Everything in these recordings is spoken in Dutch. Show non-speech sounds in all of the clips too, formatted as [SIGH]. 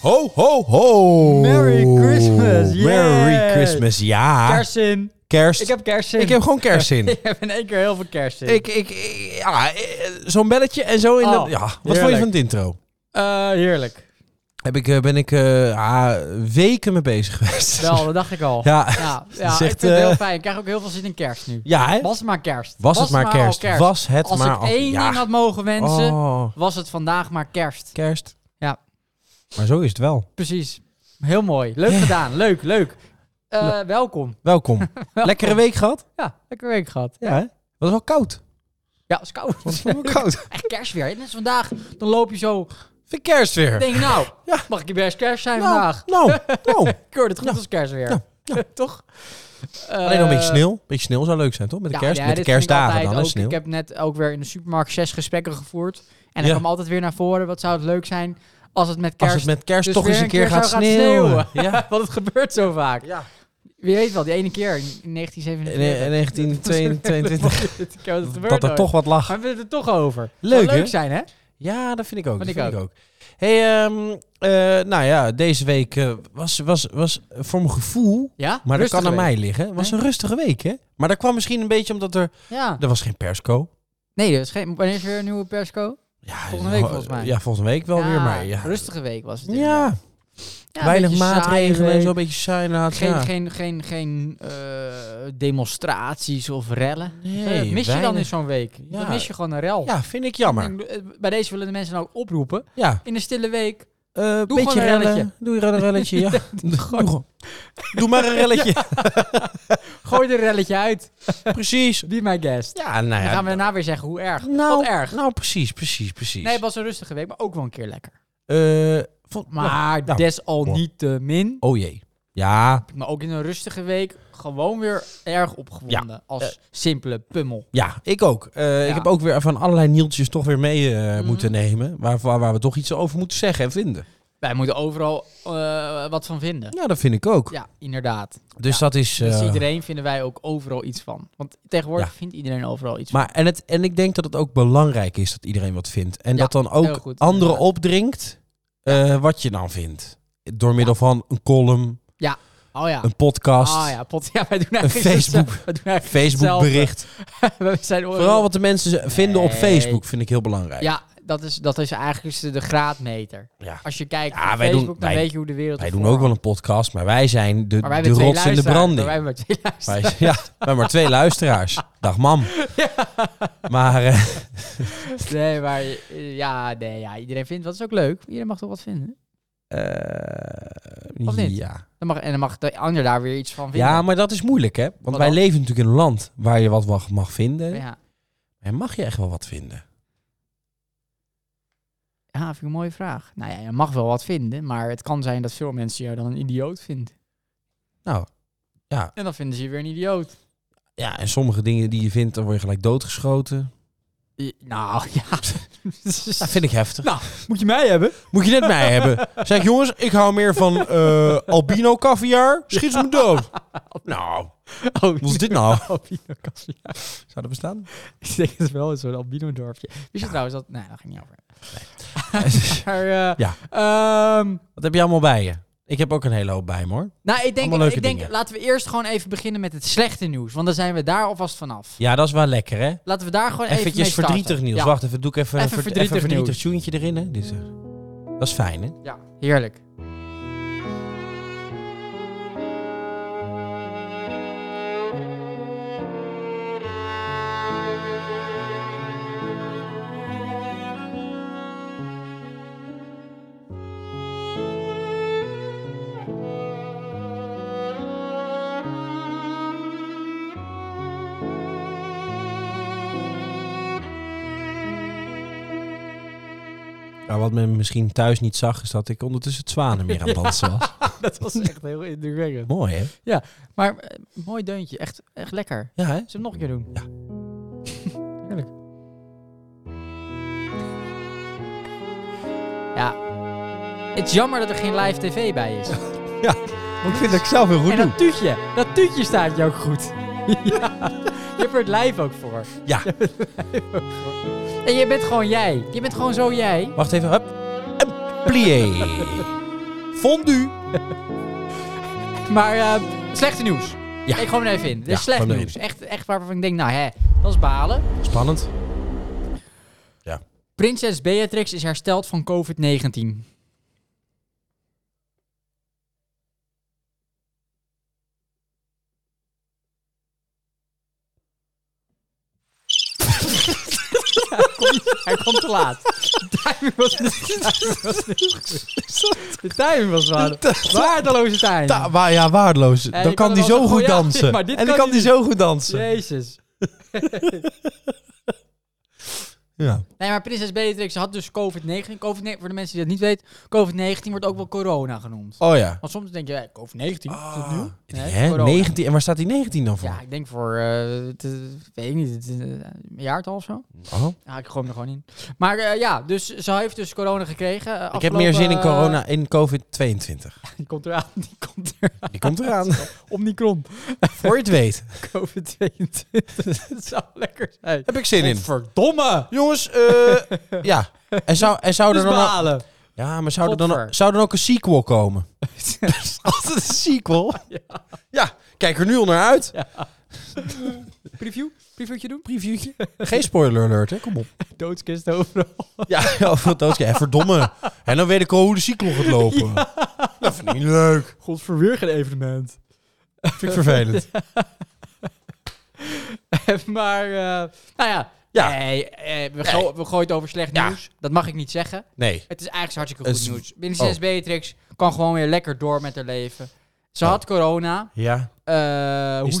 Ho, ho, ho. Merry Christmas, Merry yes. Christmas, ja. Kerstzin. Kerst. Ik heb kerstzin. Ah. [LAUGHS] Ik heb gewoon kerstzin. [LAUGHS] Ik heb in één keer heel veel kerstzin. ik, ik, ja, eh, zo'n belletje en zo in Oh, dat... Ja, wat vond je heerlijk. van het intro? Eh, heerlijk. Heb ik, eh, ben ik eh, ah, weken mee bezig geweest. Wel, dat dacht ik al. [LAUGHS] Ja, ja, ja, is ik echt, vind het eh, heel fijn. Ik krijg ook heel veel zin in kerst nu. ja hè? Was het maar kerst. Was, het maar, al kerst. Was het Als maar... ik één ja. ding had mogen wensen, Oh, was het vandaag maar kerst. kerst. Ja. Maar zo is het wel. Precies. Heel mooi. Leuk gedaan. Leuk, leuk. Eh, welkom. [LAUGHS] Welkom. Lekkere week gehad? Ja, lekker week gehad. Ja, hè? Was wel [LAUGHS] koud. Ja, is koud. Was wel koud. [LAUGHS] Echt kerstweer. Net als vandaag. Dan loop je zo. Vind kerst weer. Denk je, nou, Ja. mag ik hier best kerst zijn Nou, vandaag? Nou, [LAUGHS] nou. Ik hoor het goed Ja. als kerstweer. Ja. [LAUGHS] Toch? Alleen nog een beetje Eh, sneeuw. beetje sneeuw zou leuk zijn, toch? Met de, ja, kerst, ja, met de dit vind ik kerstdagen altijd dan, hè, ook. sneeuw. Ik heb net ook weer in de supermarkt zes gesprekken gevoerd. En dan Ja. kwam altijd weer naar voren. Wat zou het leuk zijn als het met Als kerst... het met kerst dus toch eens weer een keer zou gaat sneeuwen. [LAUGHS] Ja. Want het gebeurt zo vaak. ja. Wie weet wel, die ene keer in- in In 1947. in 1922. [LAUGHS] dat gebeurt Dat er nooit. toch wat lag. Maar we hebben het er toch over. Leuk, Zou leuk hè? zijn, hè? Ja, dat vind ik ook. Dat Vind vind ik ik ook. Hey, ehm, eh, nou ja, deze week eh, was, was, was voor mijn gevoel, Ja? maar dat Rustig kan aan week. mij liggen, was Nee? een rustige week, hè? Maar dat kwam misschien een beetje omdat er, Ja. er was geen persco. Nee, dus geen, wanneer is weer een nieuwe persco? Ja, Volgende week volgens mij. Ja, volgende week wel Ja, weer, maar ja. Rustige week was het. inderdaad. Ja, Ja, een weinig beetje saaie maatregelen en week. zo, een beetje saai inderdaad, Geen, ja. geen, geen, geen eh, demonstraties of rellen. Nee, Eh, dat mis je dan weinig. in zo'n week? Dan Ja. mis je gewoon een rel. Ja, vind ik jammer. Ik bedoel, eh, Bij deze willen de mensen nou ook oproepen. Ja, In de stille week. eh Doe beetje gewoon een rellen. relletje. Doe je een relletje, [LAUGHS] ja. Doe, gewoon- doe maar een relletje. Gooi er een relletje uit. Precies. Be my guest. Ja, nou Dan ja. gaan we daarna weer zeggen hoe erg. nou, Wat erg. Nou, precies, precies, precies. Nee, het was een rustige week, maar ook wel een keer lekker. Eh, vol- Maar nou, desalniettemin. Oh jee. Ja, Maar ook in een rustige week gewoon weer erg opgewonden. Als simpele pummel. ja, ik ook. Eh, Ja. Ik heb ook weer van allerlei nieltjes toch weer mee eh, Mhm. moeten nemen. Waar, waar, waar we toch iets over moeten zeggen en vinden. Wij moeten overal eh, wat van vinden. Ja, dat vind ik ook. Ja, inderdaad. Dus Ja. dat is... eh, Dus iedereen vinden wij ook overal iets van. Want tegenwoordig Ja. vindt iedereen overal iets maar, en, het, en ik denk dat het ook belangrijk is dat iedereen wat vindt. En Ja, dat dan heel ook goed, anderen inderdaad. opdringt eh, wat je dan vindt. Door middel van een column, van. Oh ja. een podcast, Ah ja, pot. Ja, wij doen eigenlijk Facebook- hetzelfde. [LAUGHS] Wij doen eigenlijk Facebook [LAUGHS] bericht. hetzelfde. We zijn Vooral wat de mensen ze- vinden op Nee. Facebook vind ik heel belangrijk. Ja, dat is, dat is eigenlijk de graadmeter. Ja. Als je kijkt Ja, op wij Facebook, doen- dan wij- weet je hoe de wereld Wij ervoor doen ook wel hangt. een podcast, maar wij zijn de, Maar wij de hebben twee rots in de luisteraars. branding. Maar Wij hebben maar [LAUGHS] twee luisteraars. [LAUGHS] Wij, ja, wij hebben maar twee luisteraars. Dag mam. Maar eh, Nee, maar eh, ja, nee, ja, iedereen vindt, dat is ook leuk. Iedereen mag toch wat vinden. Of niet? eh, ja. Dan mag, en dan mag de ander daar weer iets van vinden. ja, maar dat is moeilijk hè. Want Wat wij dan? leven natuurlijk in een land waar je wat wa- mag vinden. ja. En mag je echt wel wat vinden? Ja, Ah, vind ik een mooie vraag. Nou ja, je mag wel wat vinden, maar het kan zijn dat veel mensen jou dan een idioot vinden. Nou, ja. En dan vinden ze je weer een idioot. Ja, en sommige dingen die je vindt, dan word je gelijk doodgeschoten. I- nou, [LAUGHS] ja. Dat vind ik heftig. Moet je mij hebben? Nou, Moet je net mij hebben. Zeg jongens, ik hou meer van eh, albino caviar. Schiet ze me dood. [LAUGHS] Nou, [LAUGHS] Oh, [LAUGHS] wat is dit nou? albino kaviaar. Zou dat bestaan? Ik denk het wel, zo'n albino dorpje. Wist je trouwens dat... Nee, dat ging niet over. [LAUGHS] Maar, eh, Ja. ehm, Wat heb je allemaal bij je? Ik heb ook een hele hoop bij me hoor. nou, ik denk, Allemaal leuke ik denk dingen. laten we eerst gewoon even beginnen met het slechte nieuws. Want dan zijn we daar alvast vanaf. Ja, dat is wel lekker hè. Laten we daar gewoon even mee Eventjes starten. verdrietig nieuws. Ja, Wacht even, doe ik even, Even een verd- verdrietig even een nieuws. verdrietig tuentje erin. Hè? Dit is, er. dat is fijn, hè? ja, [LAUGHS] heerlijk. Maar Nou, wat men misschien thuis niet zag, is dat ik ondertussen het zwanen meer aan het dansen was. Dat was echt heel indrukwekkend. [LAUGHS] Mooi, hè? Maar eh, mooi deuntje. Echt, echt lekker. Ja, hè? Zullen we hem nog een keer doen? Ja. [LAUGHS] Heerlijk. Ja. Het is jammer dat er geen live tv bij [LAUGHS] is. Ik vind dat ik zelf heel goed en dat tuutje. Dat tuutje staat je ook goed. [LAUGHS] ja. Je hebt er het lijf ook voor. Ja. Je hebt er het lijf ook voor. En je bent gewoon jij. Je bent gewoon zo jij. Wacht even, hup. En plié. Fondue. Maar eh, slechte nieuws. Ja. Ik gewoon even in. Dit is Ja, slecht gooi maar nieuws. Echt, echt waarvan ik denk, nou hè, dat is balen. Spannend. Prinses Beatrix is hersteld van COVID-19. Hij komt- Hij komt te laat. De timing was niet, de timing was niet goed. De timing was waar. Waardeloze timing. Ta- wa- ja, waardeloos. Eh, je Dan kan kan er die wel zo zeggen, goed oh ja, dansen. [LAUGHS] maar dit En dan kan kan hij die zo goed dansen. Jezus. Ja. Nee, maar prinses Beatrix had dus COVID-19. COVID-19, voor de mensen die dat niet weten, COVID-19 wordt ook wel corona genoemd. Oh ja. Want soms denk je, eh, COVID-19, is dat nieuw? Nee, Ah. Hè? corona. 19. En waar staat die 19 dan voor? Ja, ik denk voor, eh, het, eh, weet ik niet, het, eh, een jaartal of zo. Oh. Ja, ik gooi hem er gewoon in. Maar eh, ja, dus ze heeft dus corona gekregen. eh, Ik heb afgelopen, meer zin in eh, corona, in COVID-22. die [LAUGHS] komt eraan, die komt er. Die komt [LAUGHS] eraan. Omnicron, Voor je het weet. COVID-22. [LAUGHS] dat zou lekker zijn. Heb ik zin in. Verdomme! Jongens, eh, [LAUGHS] ja. En zou, en zou Dus er dan ook, behalen. ja, maar zou er dan, Godver. zou er dan ook een sequel [LAUGHS] komen? [LAUGHS] Altijd een sequel? Ja. kijk er nu al naar uit. Preview? Previewtje doen? [LAUGHS] Previewtje. Geen spoiler alert, hè? Kom op. Doodskist overal. Ja, [LAUGHS] ja, of dat ook. Ja, verdomme. En dan weet ik al hoe de cyclon gaat lopen. Dat vind ik niet leuk. Godver, weer geen evenement. Vind ik vervelend. [LAUGHS] maar, eh, nou ja. Ja. Nee, eh, we, go- we gooien het over slecht Ja. nieuws. Dat mag ik niet zeggen. Nee. Het is eigenlijk hartstikke Het goed is- nieuws. Prinses oh. Beatrix kan gewoon weer lekker door met haar leven. Ze Oh. had corona. Ja. Eh, hoe ze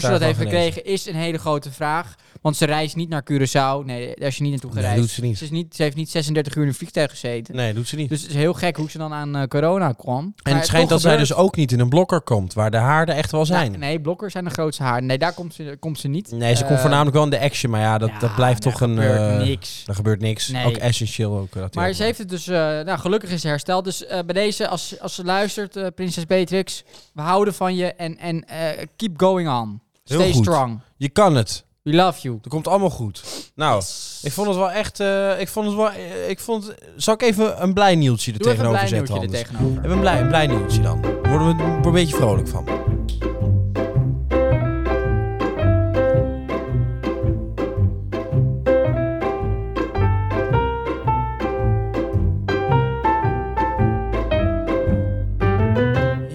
daarvan dat heeft genezen? gekregen is een hele grote vraag. Want ze reist niet naar Curaçao. Nee, daar is ze niet naartoe Nee, gereisd. doet ze niet. Ze, is niet, ze heeft niet 36 uur in een vliegtuig gezeten. Nee, doet ze niet. Dus het is heel gek hoe ze dan aan eh, corona kwam. en het schijnt dat zij dus ook niet in een blokker komt, waar de haarden echt wel zijn. Nee, blokkers zijn de grootste haar. Nee, daar komt ze, komt ze niet. Nee, ze komt Eh, voornamelijk wel in de action, maar ja, dat, ja, dat blijft daar toch een... gebeurt eh, niks. Daar gebeurt niks. Nee. Ook essentieel ook. eh, Dat Maar ze heeft het dus, eh, nou gelukkig is ze hersteld. Dus eh, bij deze, als, als ze luistert, eh, prinses Beatrix, we houden van je en, en eh, keep going on. Heel Stay goed. strong. Je kan het. We love you. Dat komt allemaal goed. Nou, ik vond het wel echt... eh, ik vond het wel... eh, ik vond, zal ik even een blij nieuwtje er Doe even een tegenover blij zetten, nieuwtje er anders? tegenover. Even een blij, een blij nieuwtje dan. Daar worden we er een beetje vrolijk van.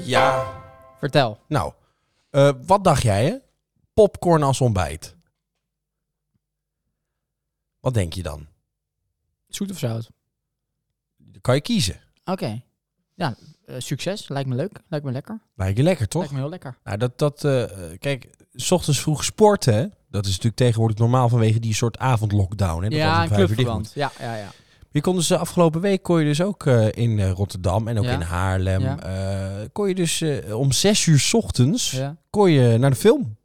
Ja, Vertel. nou. eh, wat dacht jij, hè? Popcorn als ontbijt. Wat denk je dan? Zoet of zout? Kan je kiezen? Oké. Ja, eh, succes. Lijkt me leuk. Lijkt me lekker. Lijkt je lekker, toch? Lijkt me heel lekker. Nou, dat, dat, eh, kijk, s ochtends vroeg sporten, hè, dat is natuurlijk tegenwoordig normaal vanwege die soort avondlockdown. Hè, dat alles om ja, een vijf uur dicht clubverband. Ja, ja, ja. moet. Je kon dus de afgelopen week kon je dus ook eh, in eh, Rotterdam en ook Ja. in Haarlem, Ja. eh, kon je dus eh, om zes uur 's ochtends ja. kon je naar de film.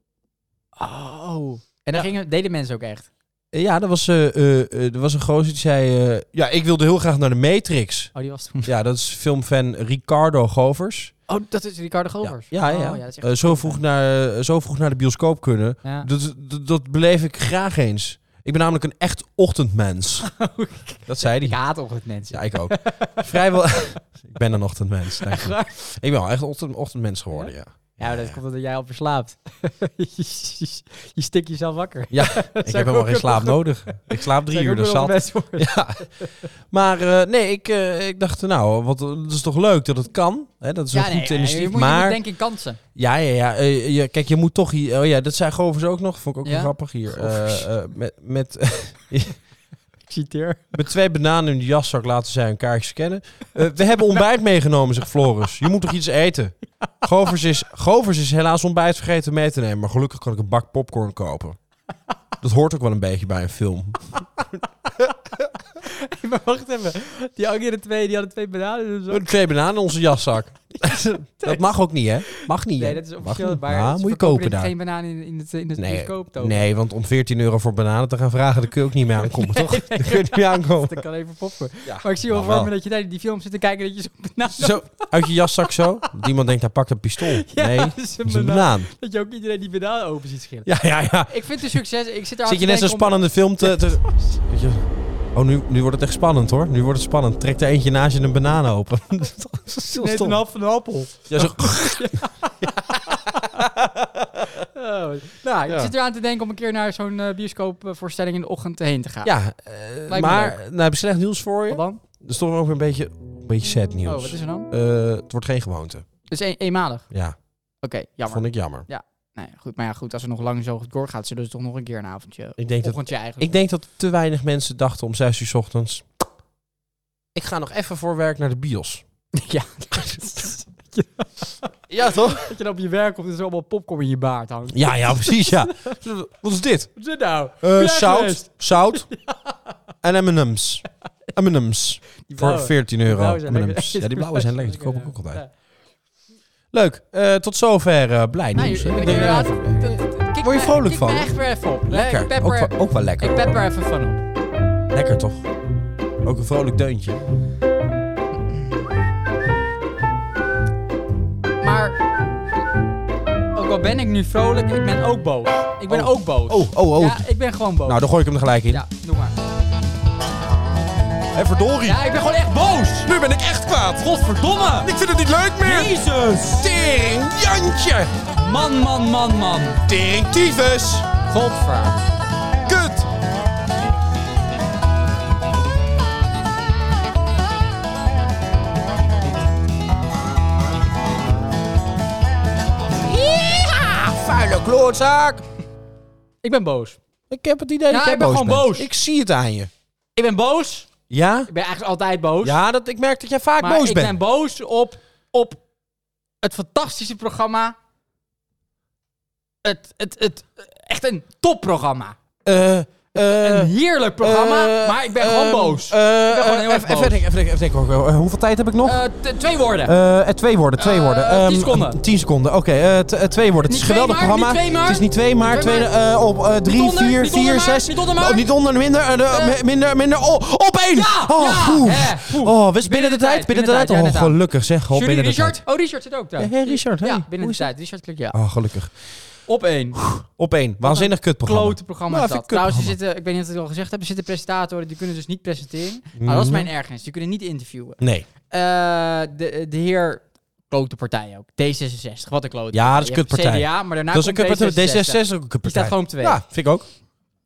Oh. En Ja. dan gingen, deden mensen ook echt. Eh, ja, dat was, eh, eh, eh, er was een gozer die zei, eh, ja, ik wilde heel graag naar de [LAUGHS] Matrix. Oh, die was toen. Ja, dat is filmfan Ricardo Govers. Oh, dat is Ricardo Govers. Ja, ja, ja. Oh, ja, dat is echt Eh, een zo, goeie vroeg Dus- fan. naar, eh, zo vroeg naar de bioscoop kunnen. Ja. Dat, dat, dat beleef ik graag eens. Ik ben namelijk een echt [LAUGHS] ochtendmens. Dat zei Oh, Ik hij. haat ook het mensen. Ja, ik ook. [LAUGHS] Vrijwel. ik ben een ochtendmens. Nee, goed. ik ben wel echt een ochtend, ochtendmens geworden, ja. Ja, maar dat komt omdat jij al verslaapt. [LAUGHS] je, je stikt jezelf wakker. Ja, ik heb helemaal geen slaap nodig. Ik slaap drie uur, dat is zat. Ja. Maar eh, nee, ik, eh, ik dacht, nou, wat, dat is toch leuk dat het kan. Hè, dat is een goed initiatief. Je maar, denk in kansen. ja, ja, ja, eh, je- kijk, je moet toch hier... Oh ja, dat zei Govers ook nog. Vond ik ook Ja? wel grappig hier. Govers. Eh, eh, met, met, Ik citeer. [LAUGHS] Met twee bananen in de jaszak laten zij hun kaartje scannen. Eh, we hebben ontbijt meegenomen, zegt Floris. Je moet toch iets eten? Govers is, Govers is helaas ontbijt vergeten mee te nemen. Maar gelukkig kan ik een bak popcorn kopen. Dat hoort ook wel een beetje bij een film. maar wacht even. Die andere twee, die hadden twee bananen in hun zak. Eh, Twee bananen in onze jaszak. Dat mag ook niet, hè? Mag niet. Nee, hè? dat is Mag officieel niet. waar. Ja, Ze moet je verkopen kopen dit daar. geen banaan in, in het, in het Nee, bioscoop toch? nee, want om 14 euro voor bananen te gaan vragen, daar kun je ook niet mee aankomen, [LAUGHS] toch? Daar [LAUGHS] kun je niet mee aankomen. Dat kan even poppen. Ja, maar ik zie wel maar voor me wel. dat je naar die film zit te kijken dat je zo'n banaan... [LAUGHS] Zo, uit je jaszak zo? Dat Iemand denkt, hij pakt een pistool. Ja, [LAUGHS] Nee, dat dat is een is een banaan. banaan. Dat je ook iedereen die banaan open ziet schillen. Ja, ja, ja. Ik vind het een succes. Ik zit er Zit je net zo'n spannende film te... te- Weet je, Oh, nu, nu wordt het echt spannend hoor. Nu wordt het spannend. Trek er eentje naast je een banaan open. [LAUGHS] Dat is toch- dat is heel Neemt stom. een hap van de appel. Ja, [LAUGHS] zo- Oh, nou, ik Ja. zit eraan te denken om een keer naar zo'n eh, bioscoopvoorstelling in de ochtend heen te gaan. ja eh, me maar nou, heb ik slecht nieuws voor je. Wat dan? Dat is toch ook weer een beetje, een beetje sad Oh, nieuws. wat is er dan? Eh, het wordt geen gewoonte. Dus een, eenmalig. Oké, Ja, jammer. vond ik jammer. Nee, goed, maar ja, goed, als het nog lang zo doorgaat, zullen ze toch nog een keer een avondje. Ik denk dat, Ochtendje eigenlijk. ik denk dat te weinig mensen dachten om 6 uur 's ochtends. Ik ga nog even voor werk naar de bios. [LAUGHS] Ja. [LAUGHS] Ja, toch? [LAUGHS] Dat je dan op je werk komt en er zo allemaal popcorn in je baard hangt. Ja, ja, precies, ja. [LAUGHS] Wat is dit? Wat is dit nou? Eh, Jij zout, geweest. [LAUGHS] zout en M&M's. M&M's. Die Voor blauwe- 14 euro. blauwe zijn lekker. M&M's. Ja, die blauwe zijn lekker. Die koop ik ook altijd. Ja. Leuk. Eh, tot zover. eh, blij Nou, nieuws. je- hè? ik- Denk- inderdaad, Word je Kik me- vrolijk kik van? me echt weer even op. Lekker. Ik Ook, pepper, wel- ook wel lekker. ik pepper even van op. Lekker toch? Ook een vrolijk deuntje. Maar ook al ben ik nu vrolijk, ik ben ook boos. Ik ben Oh. ook boos. Oh, oh, oh. Ja, ik ben gewoon boos. Nou, dan gooi ik hem er gelijk in. Ja, doe maar. Hé, verdorie. Ja, ik ben gewoon echt boos. Nu ben ik echt kwaad. Godverdomme. Ik vind het niet leuk meer. Jezus. Tering Jantje. Man, man, man, man. Tering tyfus. Godver. Kut. Ja, vuile klootzak. Ik ben boos. Ik heb het idee dat Ja, jij ik ben boos gewoon bent. boos. Ik zie het aan je. Ik ben boos. Ja? Ik ben eigenlijk altijd boos. Ja, dat, ik merk dat jij vaak maar boos ik bent. ben boos op, op het fantastische programma. Het, het, het, echt een topprogramma. Eh, eh, een heerlijk programma, eh, maar ik ben gewoon ehm, boos. eh, Ik ben gewoon heel eh, erg Even boos. denken, even denken, even denken. hoor. Eh, Hoeveel tijd heb ik nog? Eh, t- twee woorden. Eh, eh, twee woorden, twee eh, woorden. tien Ehm, seconden. Tien seconden, oké. eh, t- eh, twee woorden. Het is een Niet geweldig twee maar, programma. niet twee maar. Het is niet twee, maar, Twee twee, eh, op eh, drie, onder, vier, niet vier, onder maar, zes. niet onder maar. Oh, niet onder, minder, eh, de- Eh. mi- minder, minder. Oh, op één! Ja, oh, ja, Eh. poeh. hè, poeh. Oh, was binnen de tijd? Binnen de tijd? ja, Oh, net aan. gelukkig zeg. Oh, Jury, binnen de Richard. tijd. Oh, Richard zit ook daar. Ja, hey, Richard, hey. Ja, Hoe binnen is de tijd. Richard klikt ja. Oh, gelukkig. Op één. Op één. Waanzinnig kutprogramma. Klote programma Nou, is dat. vind ik een Trouwens, er kutprogramma. zitten, ik weet niet of ik het al gezegd heb, er zitten presentatoren die kunnen dus niet presenteren. Maar dat is Mhm. mijn ergernis. Die kunnen niet interviewen. Nee. Eh, de, de heer... Klote partij ook. D66. Wat een klote Ja, dat is Je hebt kutpartij. CDA, maar daarna Dat is een komt kutpartij. D66 D66. is ook een Die staat kutpartij. gewoon op twee. Ja, vind ik ook.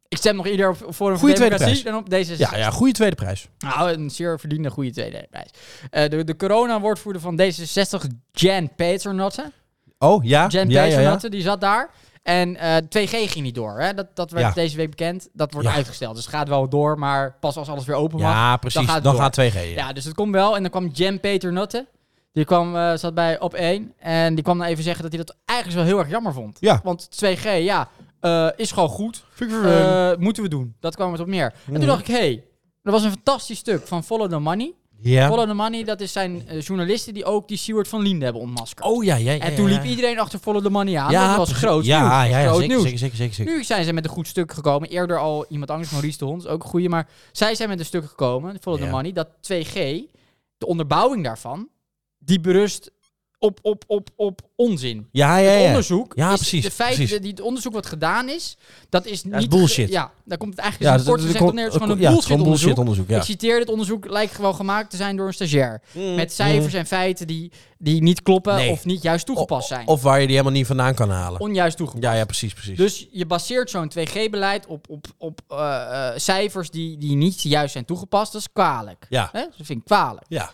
Ik stem nog ieder op Forum voor Goeie tweede Democratie dan op D66. Ja, ja, goede tweede prijs. Nou, een zeer verdiende goede tweede prijs. Eh, de de corona-woordvoerder van D66, Jan Paternotte. Oh, ja. Jan ja, ja, ja. Paternotte, die zat daar. En eh 2G ging niet door. Hè? Dat, dat werd Ja. deze week bekend. Dat wordt Ja. uitgesteld. Dus het gaat wel door, maar pas als alles weer open mag. Ja, precies. gaat Dan het gaat, door. 2G. ja. Ja, dus het komt wel. En dan kwam Jan Paternotte. Die kwam, eh, zat bij op 1. En die kwam dan even zeggen dat hij dat eigenlijk wel heel erg jammer vond. Ja. Want 2G, ja, eh, is gewoon goed. Vind ik Eh, moeten we doen. Dat kwam het op neer. En Mhm. toen dacht ik, hé, hey, dat was een fantastisch stuk van Follow the Money. ja. Follow the Money, dat is zijn eh, journalisten die ook die Seward van Linden hebben ontmaskerd. Oh ja, ja, ja. en toen ja, liep ja. iedereen achter Follow the Money aan. Ja, dat was precies. groot ja, nieuws. Ja, ja, groot zeker, nieuws. zeker, zeker, zeker, zeker. Nu zijn ze met een goed stuk gekomen. Eerder al iemand anders, Maurice de Hond, is ook een goeie. Maar zij zijn met een stuk gekomen, Follow the Ja. Money, dat 2G, de onderbouwing daarvan, die berust op, op, op, op onzin. Ja, ja, Het ja. onderzoek. Ja, is- precies, De feit, precies. de- die, het onderzoek wat gedaan is, dat is niet. is bullshit. ge- Ja, daar komt het eigenlijk Ja, dus in kort gezegd op neer. Het is gewoon een ja, het is bullshit, gewoon bullshit onderzoek. onderzoek. Ja. Ik citeer dit onderzoek lijkt gewoon gemaakt te zijn door een stagiair. Mm, Met cijfers en feiten die, die niet kloppen Nee. of niet juist mm. toegepast zijn. Of, of waar je die helemaal niet vandaan kan halen. Onjuist toegepast. Ja, ja, precies, precies. Dus je baseert zo'n 2G-beleid op, op, op eh, eh, cijfers die, die niet juist zijn toegepast. Dat is kwalijk. ja. Hè? Dat vind ik kwalijk. Ja.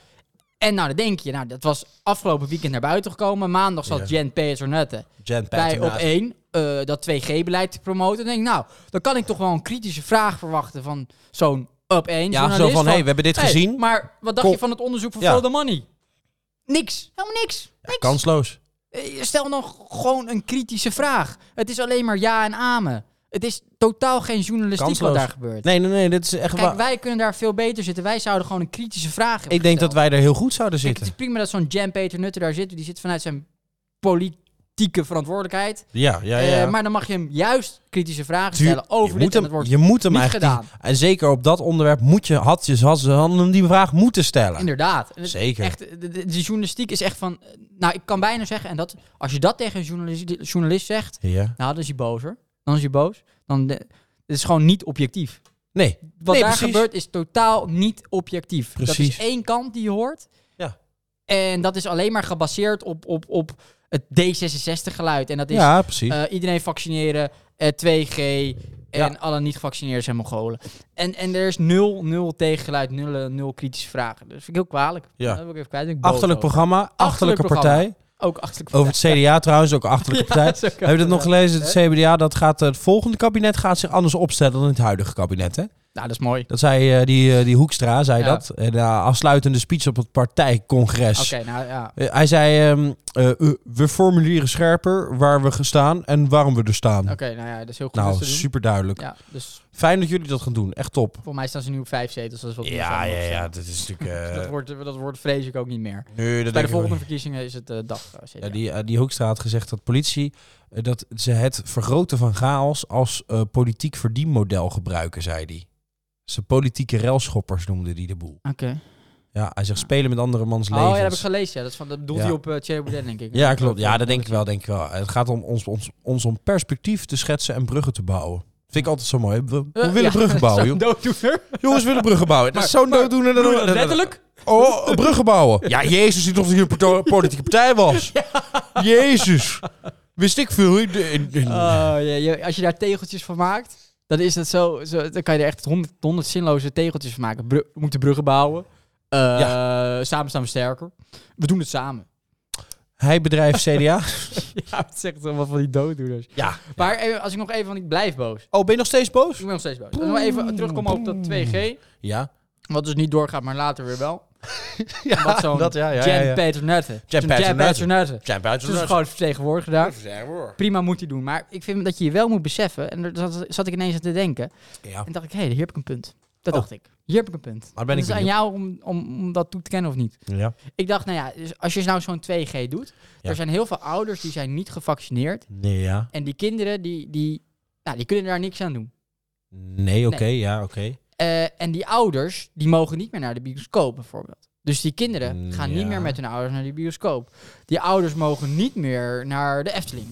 En nou, dan denk je, nou, dat was afgelopen weekend naar buiten gekomen. Maandag zat Ja. Jen Peternutte Jan bij op Paternotte. één eh, dat 2G-beleid te promoten. Dan denk ik, nou, dan kan ik toch wel een kritische vraag verwachten van zo'n op één Ja, zo journalist. van, hé, hey, we hebben dit hey, gezien. Maar wat dacht Kom. je van het onderzoek van Ja. Follow the Money? Niks. Helemaal niks. niks. Kansloos. Eh, Stel nog gewoon een kritische vraag. Het is alleen maar ja en amen. Het is totaal geen journalistiek Kansloos. wat daar gebeurt. Nee, nee, nee, dit is echt Kijk, waar. wij kunnen daar veel beter zitten. Wij zouden gewoon een kritische vraag hebben Ik denk dat gesteld. wij er heel goed zouden Kijk, het is zitten. prima dat zo'n Jan Peter Nutter daar zit. Die zit vanuit zijn politieke verantwoordelijkheid. Ja, ja, ja. Eh, maar dan mag je hem juist kritische vragen Tuur- stellen over je, dit moet en dat hem, wordt je moet hem niet eigenlijk. gedaan. En zeker op dat onderwerp moet je, had je, had ze hadden hem die vraag moeten stellen. Inderdaad. En het- Zeker. Echt, de, de- de journalistiek is echt van... eh, Nou, ik kan bijna zeggen... En dat, als je dat tegen een journalist, journalist zegt... Ja. Nou, dan is hij boos hoor. Dan is hij boos. Dan de- het is gewoon niet objectief. Nee. Wat Nee, daar precies. gebeurt is totaal niet objectief. Dat Precies. is één kant die je hoort. Ja. En dat is alleen maar gebaseerd op, op, op het D66-geluid. En dat is Ja, precies. eh, iedereen vaccineren, eh, 2G en Ja. alle niet-gevaccineerden zijn Mongolen. En, en er is nul, nul tegengeluid, nul, eh, nul kritische vragen. Dus vind ik heel kwalijk. Ja. Dat wil ik even kwijt. ben ik boos Achterlijk over. programma, achterlijke, Achterlijk programma. partij. Ook achterlijk Over het CDA trouwens, ook een achterlijke [LAUGHS] Ja, partij. dat is ook Heb je dat nog achterlijk. gelezen? Het CDA, dat gaat, eh, het volgende kabinet gaat zich anders opstellen dan het huidige kabinet. Hè? Nou, dat is mooi. Dat zei eh, die, eh, die Hoekstra, zei Ja. dat. En na afsluitende speech op het partijcongres. Oké, nou ja. Eh, hij zei, ehm, eh, eh, we formuleren scherper waar we gestaan en waarom we er staan. Oké, nou ja, dat is heel goed. om Nou, te doen. super duidelijk. Ja, dus Fijn dat jullie dat gaan doen. Echt top. voor mij staan ze nu op vijf zetels. Dat is wat we Ja, samen ja, ja. opstellen. Dat is natuurlijk... eh, [LAUGHS] Dat, wordt, dat wordt vrees ik ook niet meer. nee, dat Bij denk de ik ook volgende niet. verkiezingen is het eh dag. eh, CDA. Ja, die, eh, die Hoekstra had gezegd dat politie eh, dat ze het vergroten van chaos als eh, politiek verdienmodel gebruiken, zei hij. Ze politieke relschoppers noemde die de boel. Oké. Ja, hij zegt spelen met andere mans Oh ja, dat heb ik levens. gelezen. Ja. Dat, is van, dat bedoelt Ja. hij op eh Thierry Baudet, denk ik. ja, klopt. Ja, dat denk ik wel, denk ik wel. Het gaat om ons, ons, ons om perspectief te schetsen en bruggen te bouwen. Vind ik altijd zo mooi. We, we Eh, willen ja. bruggen bouwen, [LAUGHS] joh. Zo'n [LAUGHS] dooddoener. jongens. willen bruggen bouwen. Dat is zo'n dooddoener. dat- dat- dat- Letterlijk? Oh, bruggen bouwen. Ja, Jezus, die toch hier een parto- politieke partij [LAUGHS] was. Jezus. Wist ik veel. Ik- ik- ik- Oh, ja, ja, als je daar tegeltjes van maakt, dan is dat zo. zo dan kan je er echt honderd, honderd zinloze tegeltjes van maken. Bru- we moeten bruggen bouwen. Eh, Samen staan we sterker. We doen het samen. Hij bedrijft CDA. [LAUGHS] Ja, het zegt allemaal van die dooddoeners. ja. Maar eh, als ik nog even, want ik blijf boos. Oh, ben je nog steeds Ik boos? ben nog steeds boos. Nog even terugkomen op dat 2G. Ja. Wat dus niet doorgaat, maar later weer [LAUGHS] wel. ja Wat zo'n dat, ja, ja, ja, Jan ja. Paternotte. Jan Zo'n Paternotte. Paternotte. Zijn buiten Dat is gewoon vertegenwoordiger daar. Prima moet hij doen. Maar ik vind dat je je wel moet beseffen. En daar zat, zat ik ineens aan te denken. Ja. En dacht ik, hé, hier heb ik een punt. Dat Oh. dacht ik. Hier heb ik een punt. Maar ben het ik is aan jou om, om, om dat toe te kennen of niet. ja. Ik dacht, nou ja, dus als je nou zo'n 2G doet. Ja. Er zijn heel veel ouders die zijn niet gevaccineerd. Nee, ja. En die kinderen, die, die, nou, die kunnen daar niks aan doen. Nee, oké, ja, oké. Eh, en die ouders, die mogen niet meer naar de bioscoop bijvoorbeeld. Dus die kinderen Mm, gaan ja. niet meer met hun ouders naar de bioscoop. Die ouders mogen niet meer naar de Efteling.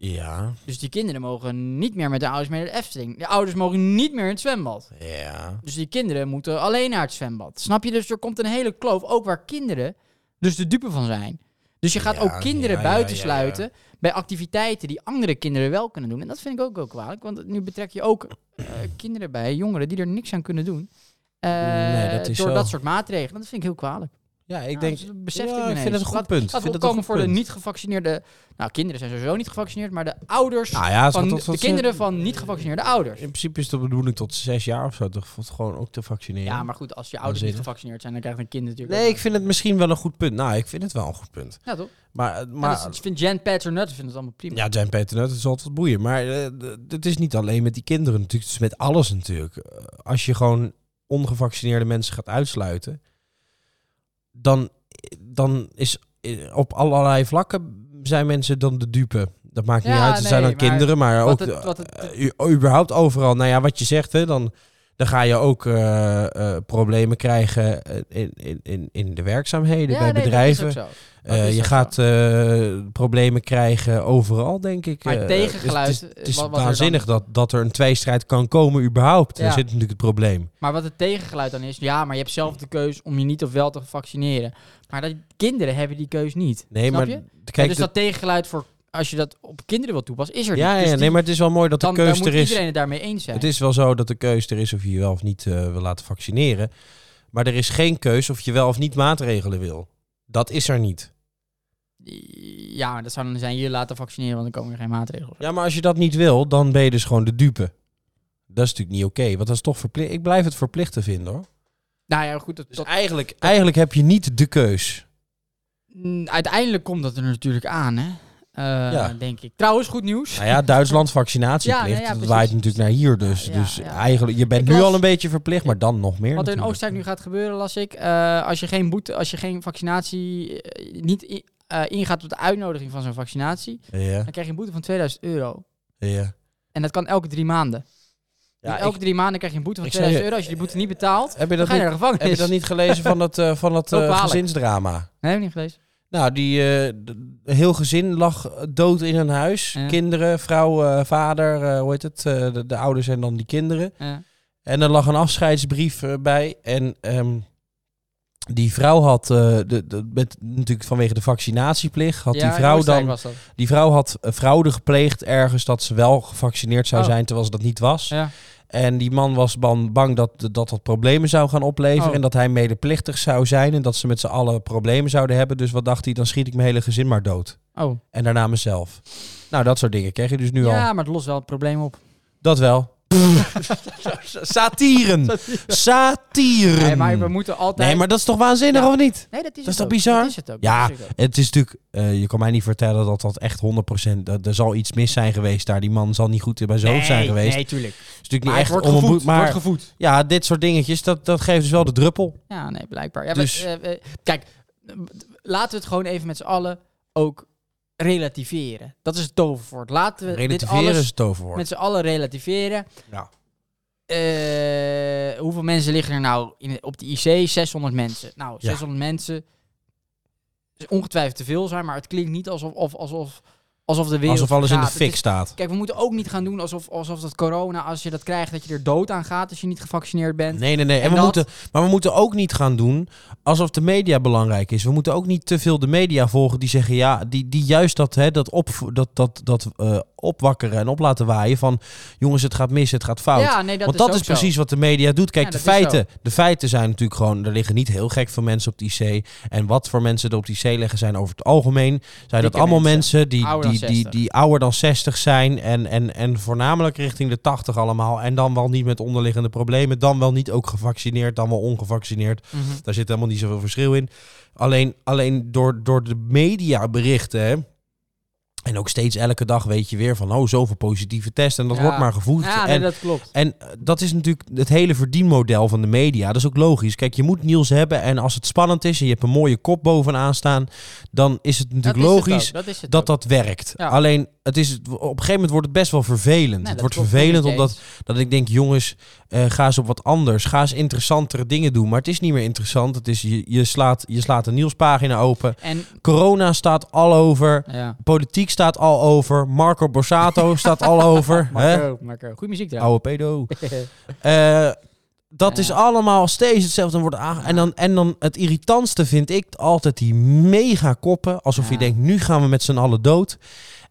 Ja, Dus die kinderen mogen niet meer met de ouders mee naar de Efteling. De ouders mogen niet meer in het zwembad. ja. Dus die kinderen moeten alleen naar het zwembad. Snap je? Dus er komt een hele kloof, ook waar kinderen dus de dupe van zijn. Dus je gaat Ja, ook kinderen ja, ja, buitensluiten bij activiteiten die andere kinderen wel kunnen doen. En dat vind ik ook heel kwalijk, want nu betrek je ook eh, kinderen bij, jongeren die er niks aan kunnen doen. Eh, Nee, dat is door zo. dat soort maatregelen. Dat vind ik heel kwalijk. Ja, ik Ja, denk... dus dat besefte ja, ik me ik vind ineens. het een goed Laat- punt. Ik Laten vind we dat een opkomen goed voor de punt. niet gevaccineerde... Nou, kinderen zijn sowieso niet gevaccineerd, maar de ouders Nou ja, van tot, tot, de kinderen van niet gevaccineerde ouders. In principe is de bedoeling tot zes jaar of zo, toch? Valt gewoon ook te vaccineren. Ja, maar goed, als je ouders niet Waanzinnig. gevaccineerd zijn, dan krijgt een kind natuurlijk. Nee, ook- ik vind het misschien wel een goed punt. Nou, ik vind het wel een goed punt. Ja, toch? Maar, eh, maar Maar ik vind Jan Paternotte vindt het allemaal prima. Ja, nou, Jan Peternet, het zal het wat boeien. Maar eh, d- het is niet alleen met die kinderen natuurlijk. Het is met alles natuurlijk. Eh, Als je gewoon ongevaccineerde mensen gaat uitsluiten... dan, dan is eh, op allerlei vlakken zijn mensen dan de dupe. Dat maakt niet Ja, uit. Het zijn dan nee, maar kinderen, maar wat ook het- wat het- eh, u- überhaupt overal. Nou ja, wat je zegt, hè, dan, dan ga je ook eh, eh, problemen krijgen eh, in, in- in, in de werkzaamheden, bij bedrijven. Dat is ook zo. Eh, Dat is je ook gaat eh, problemen krijgen overal, denk ik. Maar Eh, tegengeluid, eh, Het is, het is, het is wat- wat er dan- waanzinnig dat, dat er een tweestrijd kan komen überhaupt. Ja. Daar zit natuurlijk het probleem. Maar wat het tegengeluid dan is, ja, maar je hebt zelf de keus om je niet of wel te vaccineren. Maar dat, kinderen hebben die keus niet. Nee, Snap maar je? kijk, dus dat tegengeluid voor als je dat op kinderen wil toepassen, is er dat- ja, niet. ja, Dus nee, die- maar het is wel mooi dat de dan, dan keus moet er is. iedereen het daarmee eens zijn. Het is wel zo dat de keus er is of je je wel of niet eh, wil laten vaccineren. Maar er is geen keus of je wel of niet maatregelen wil. Dat is er niet. Ja, maar dat zou dan zijn, je laten vaccineren, want dan komen er geen maatregelen. Ja, maar als je dat niet wil, dan ben je dus gewoon de dupe. Dat is natuurlijk niet oké, want dat is toch verplicht. Ik blijf het verplicht te vinden hoor. Nou ja, goed, dat, Dus dat- eigenlijk, eigenlijk heb je niet de keus. Mm, uiteindelijk komt dat er natuurlijk aan, hè? Eh, Ja. Denk ik. Trouwens, goed nieuws. Nou ja, Duitsland vaccinatieplicht. Ja, nou ja, dat precies. waait natuurlijk naar hier dus. Ja, ja, dus ja. eigenlijk, je bent Ik nu las- al een beetje verplicht, maar dan nog meer. Wat er in natuurlijk. Oostenrijk nu gaat gebeuren, las ik. eh, als je geen boete, als je geen vaccinatie eh, niet i- eh, ingaat op de uitnodiging van zo'n vaccinatie, Ja, dan krijg je een boete van 2000 euro. ja. En dat kan elke drie maanden. Dus ja elke ik- drie maanden krijg je een boete van ik zei 2000 euro. Als je die boete niet betaalt, heb, je dat dan ga je niet, naar de gevangenis. heb je dat niet gelezen van dat, eh, van dat eh, Heel kwalijk. gezinsdrama? Nee, heb ik niet gelezen. Nou, die eh, d- een heel gezin lag eh, dood in een huis. Ja. Kinderen, vrouw, eh, vader, eh, hoe heet het? eh, de, de ouders en dan die kinderen. Ja. En En er lag een afscheidsbrief eh, bij. En ehm, die vrouw had, eh, de, de, met, natuurlijk vanwege de vaccinatieplicht, had die vrouw dan Was dat. Die vrouw had eh, fraude gepleegd ergens dat ze wel gevaccineerd zou Oh. zijn terwijl ze dat niet was. Ja. En die man was ban- bang dat, dat dat problemen zou gaan opleveren Oh. en dat hij medeplichtig zou zijn en dat ze met z'n allen problemen zouden hebben. Dus wat dacht hij, dan schiet ik mijn hele gezin maar dood. Oh. En daarna mezelf. Nou, dat soort dingen kreeg je dus nu al. Ja, maar het lost wel het probleem op. Dat wel. [LAUGHS] Satieren. Satieren. Nee, maar we moeten altijd... Nee, maar dat is toch waanzinnig Ja. of niet? Nee, dat is, is het toch ook. bizar? Dat is het ook. Ja. dat is het ook. Het is natuurlijk, eh, je kan mij niet vertellen dat dat echt 100%, dat, er zal iets mis zijn geweest daar. Die man zal niet goed bij zijn hoofd zijn Nee, geweest. Nee, tuurlijk. Het is natuurlijk Maar niet echt het wordt onbemoed- gevoed. het maar wordt gevoed. ja, dit soort dingetjes, dat, dat geeft dus wel de druppel. Ja, nee, blijkbaar. Ja, Dus- maar, eh, eh, kijk, eh, laten we het gewoon even met z'n allen ook relativeren. Dat is het toverwoord. Laten we Relativeren dit is alles het toverwoord. met z'n allen relativeren. Ja. Eh, hoeveel mensen liggen er nou in, op de IC? 600 mensen. Nou, Ja. 600 mensen is ongetwijfeld te veel zijn, maar het klinkt niet alsof, of, alsof, alsof de wereld Alsof alles in de vergaat. Het fik is- staat. Kijk, we moeten ook niet gaan doen alsof, alsof dat corona, als je dat krijgt, dat je er dood aan gaat als je niet gevaccineerd bent. Nee, nee, nee. En En we dat- moeten, maar we moeten ook niet gaan doen alsof de media belangrijk is. We moeten ook niet te veel de media volgen die zeggen... ja, die, die juist dat, hè, dat, op, dat, dat, dat eh, opwakkeren en op laten waaien van... jongens, het gaat mis, het gaat fout. Ja, nee, dat Want dat ook is, zo. precies wat de media doet. Kijk, Ja, de dat is feiten. De feiten zijn natuurlijk gewoon. Er liggen niet heel gek veel mensen op het IC. En wat voor mensen er op het IC liggen zijn over het algemeen. Zijn dat Dikke allemaal mensen. mensen, die, Ouder die, dan die, 60. die ouder dan 60 zijn. En, en, en voornamelijk richting de 80 allemaal. En dan wel niet met onderliggende problemen. Dan wel niet ook gevaccineerd. Dan wel ongevaccineerd. Mhm. Daar zit helemaal niet zoveel verschil in. Alleen, alleen door, door de mediaberichten. Hè, en ook steeds elke dag weet je weer van. Oh, zoveel positieve testen. En dat Ja. wordt maar gevoed. Ja, nee, en, dat klopt. en eh, dat is natuurlijk het hele verdienmodel van de media. Dat is ook logisch. Kijk, je moet nieuws hebben en als het spannend is en je hebt een mooie kop bovenaan staan, dan is het natuurlijk Dat is het logisch ook, dat is het dat ook. dat werkt. Ja. Alleen, het is, op een gegeven moment wordt het best wel vervelend. Nee, het dat wordt klopt, vervelend ben ik omdat dat ik denk, jongens, eh, ga eens op wat anders. Ga eens interessantere dingen doen. Maar het is niet meer interessant. Het is, je, je, slaat, je slaat een nieuwspagina open. En Corona staat al over. ja. Politiek staat al over. Marco [LAUGHS] Borsato staat al over. hè? Marco, Marco. Goede muziek daar. Oude pedo. Eh, dat Ja. is allemaal steeds hetzelfde en wordt aange- en dan En dan het irritantste vind ik altijd die mega koppen. Alsof je Ja. denkt, nu gaan we met z'n allen dood.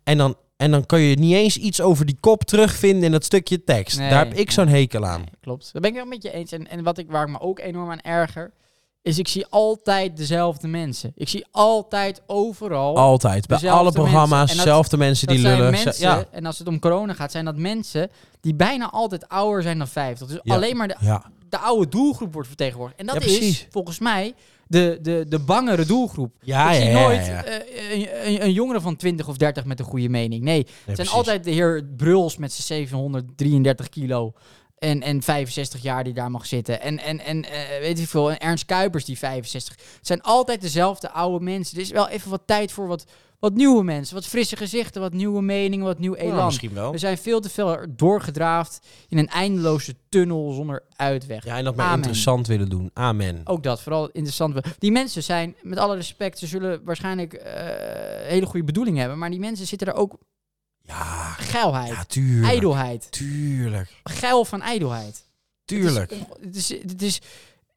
En dan, en dan kan je niet eens iets over die kop terugvinden in dat stukje tekst. Nee, Daar heb ik nee, zo'n hekel aan. [LAUGHS] Nee, klopt. Dat ben ik wel met je eens. En, en wat ik, waar ik me ook enorm aan erger, is ik zie altijd dezelfde mensen. Ik zie altijd overal. Altijd. Bij Dezelfde alle programma's, mensen. En dat- dezelfde mensen dat die zijn lullen. Ze- mensen, Ja. en als het om corona gaat, zijn dat mensen die bijna altijd ouder zijn dan 50. Dus Ja. alleen maar de, ja, de oude doelgroep wordt vertegenwoordigd. En dat Ja, is, precies. volgens mij, de, de, de bangere doelgroep. ja, ik Ah, ja, zie ja, nooit ja. Nee, eh, een, een, een jongere van 20 of 30 met een goede mening. Nee, het zijn precies. altijd de heer Bruls met zijn 733 kilo en, en 65 jaar die daar mag zitten. En, en, en eh, weet je veel, en Ernst Kuipers die 65. Het zijn altijd dezelfde oude mensen. Er is wel even wat tijd voor wat, wat nieuwe mensen. Wat frisse gezichten, wat nieuwe meningen, wat nieuw Nou, elan. Dus- misschien wel. We zijn veel te veel doorgedraafd in een eindeloze tunnel zonder uitweg. Ja, en dat mij Amen. Oh. interessant willen doen. Amen. Ook dat, vooral interessant. Die mensen zijn, met alle respect, ze zullen waarschijnlijk eh, hele goede bedoelingen hebben. Maar die mensen zitten er ook Ja, geilheid, ja, tuurlijk. ijdelheid. Tuurlijk. Geil van ijdelheid. Tuurlijk. Het is, het is,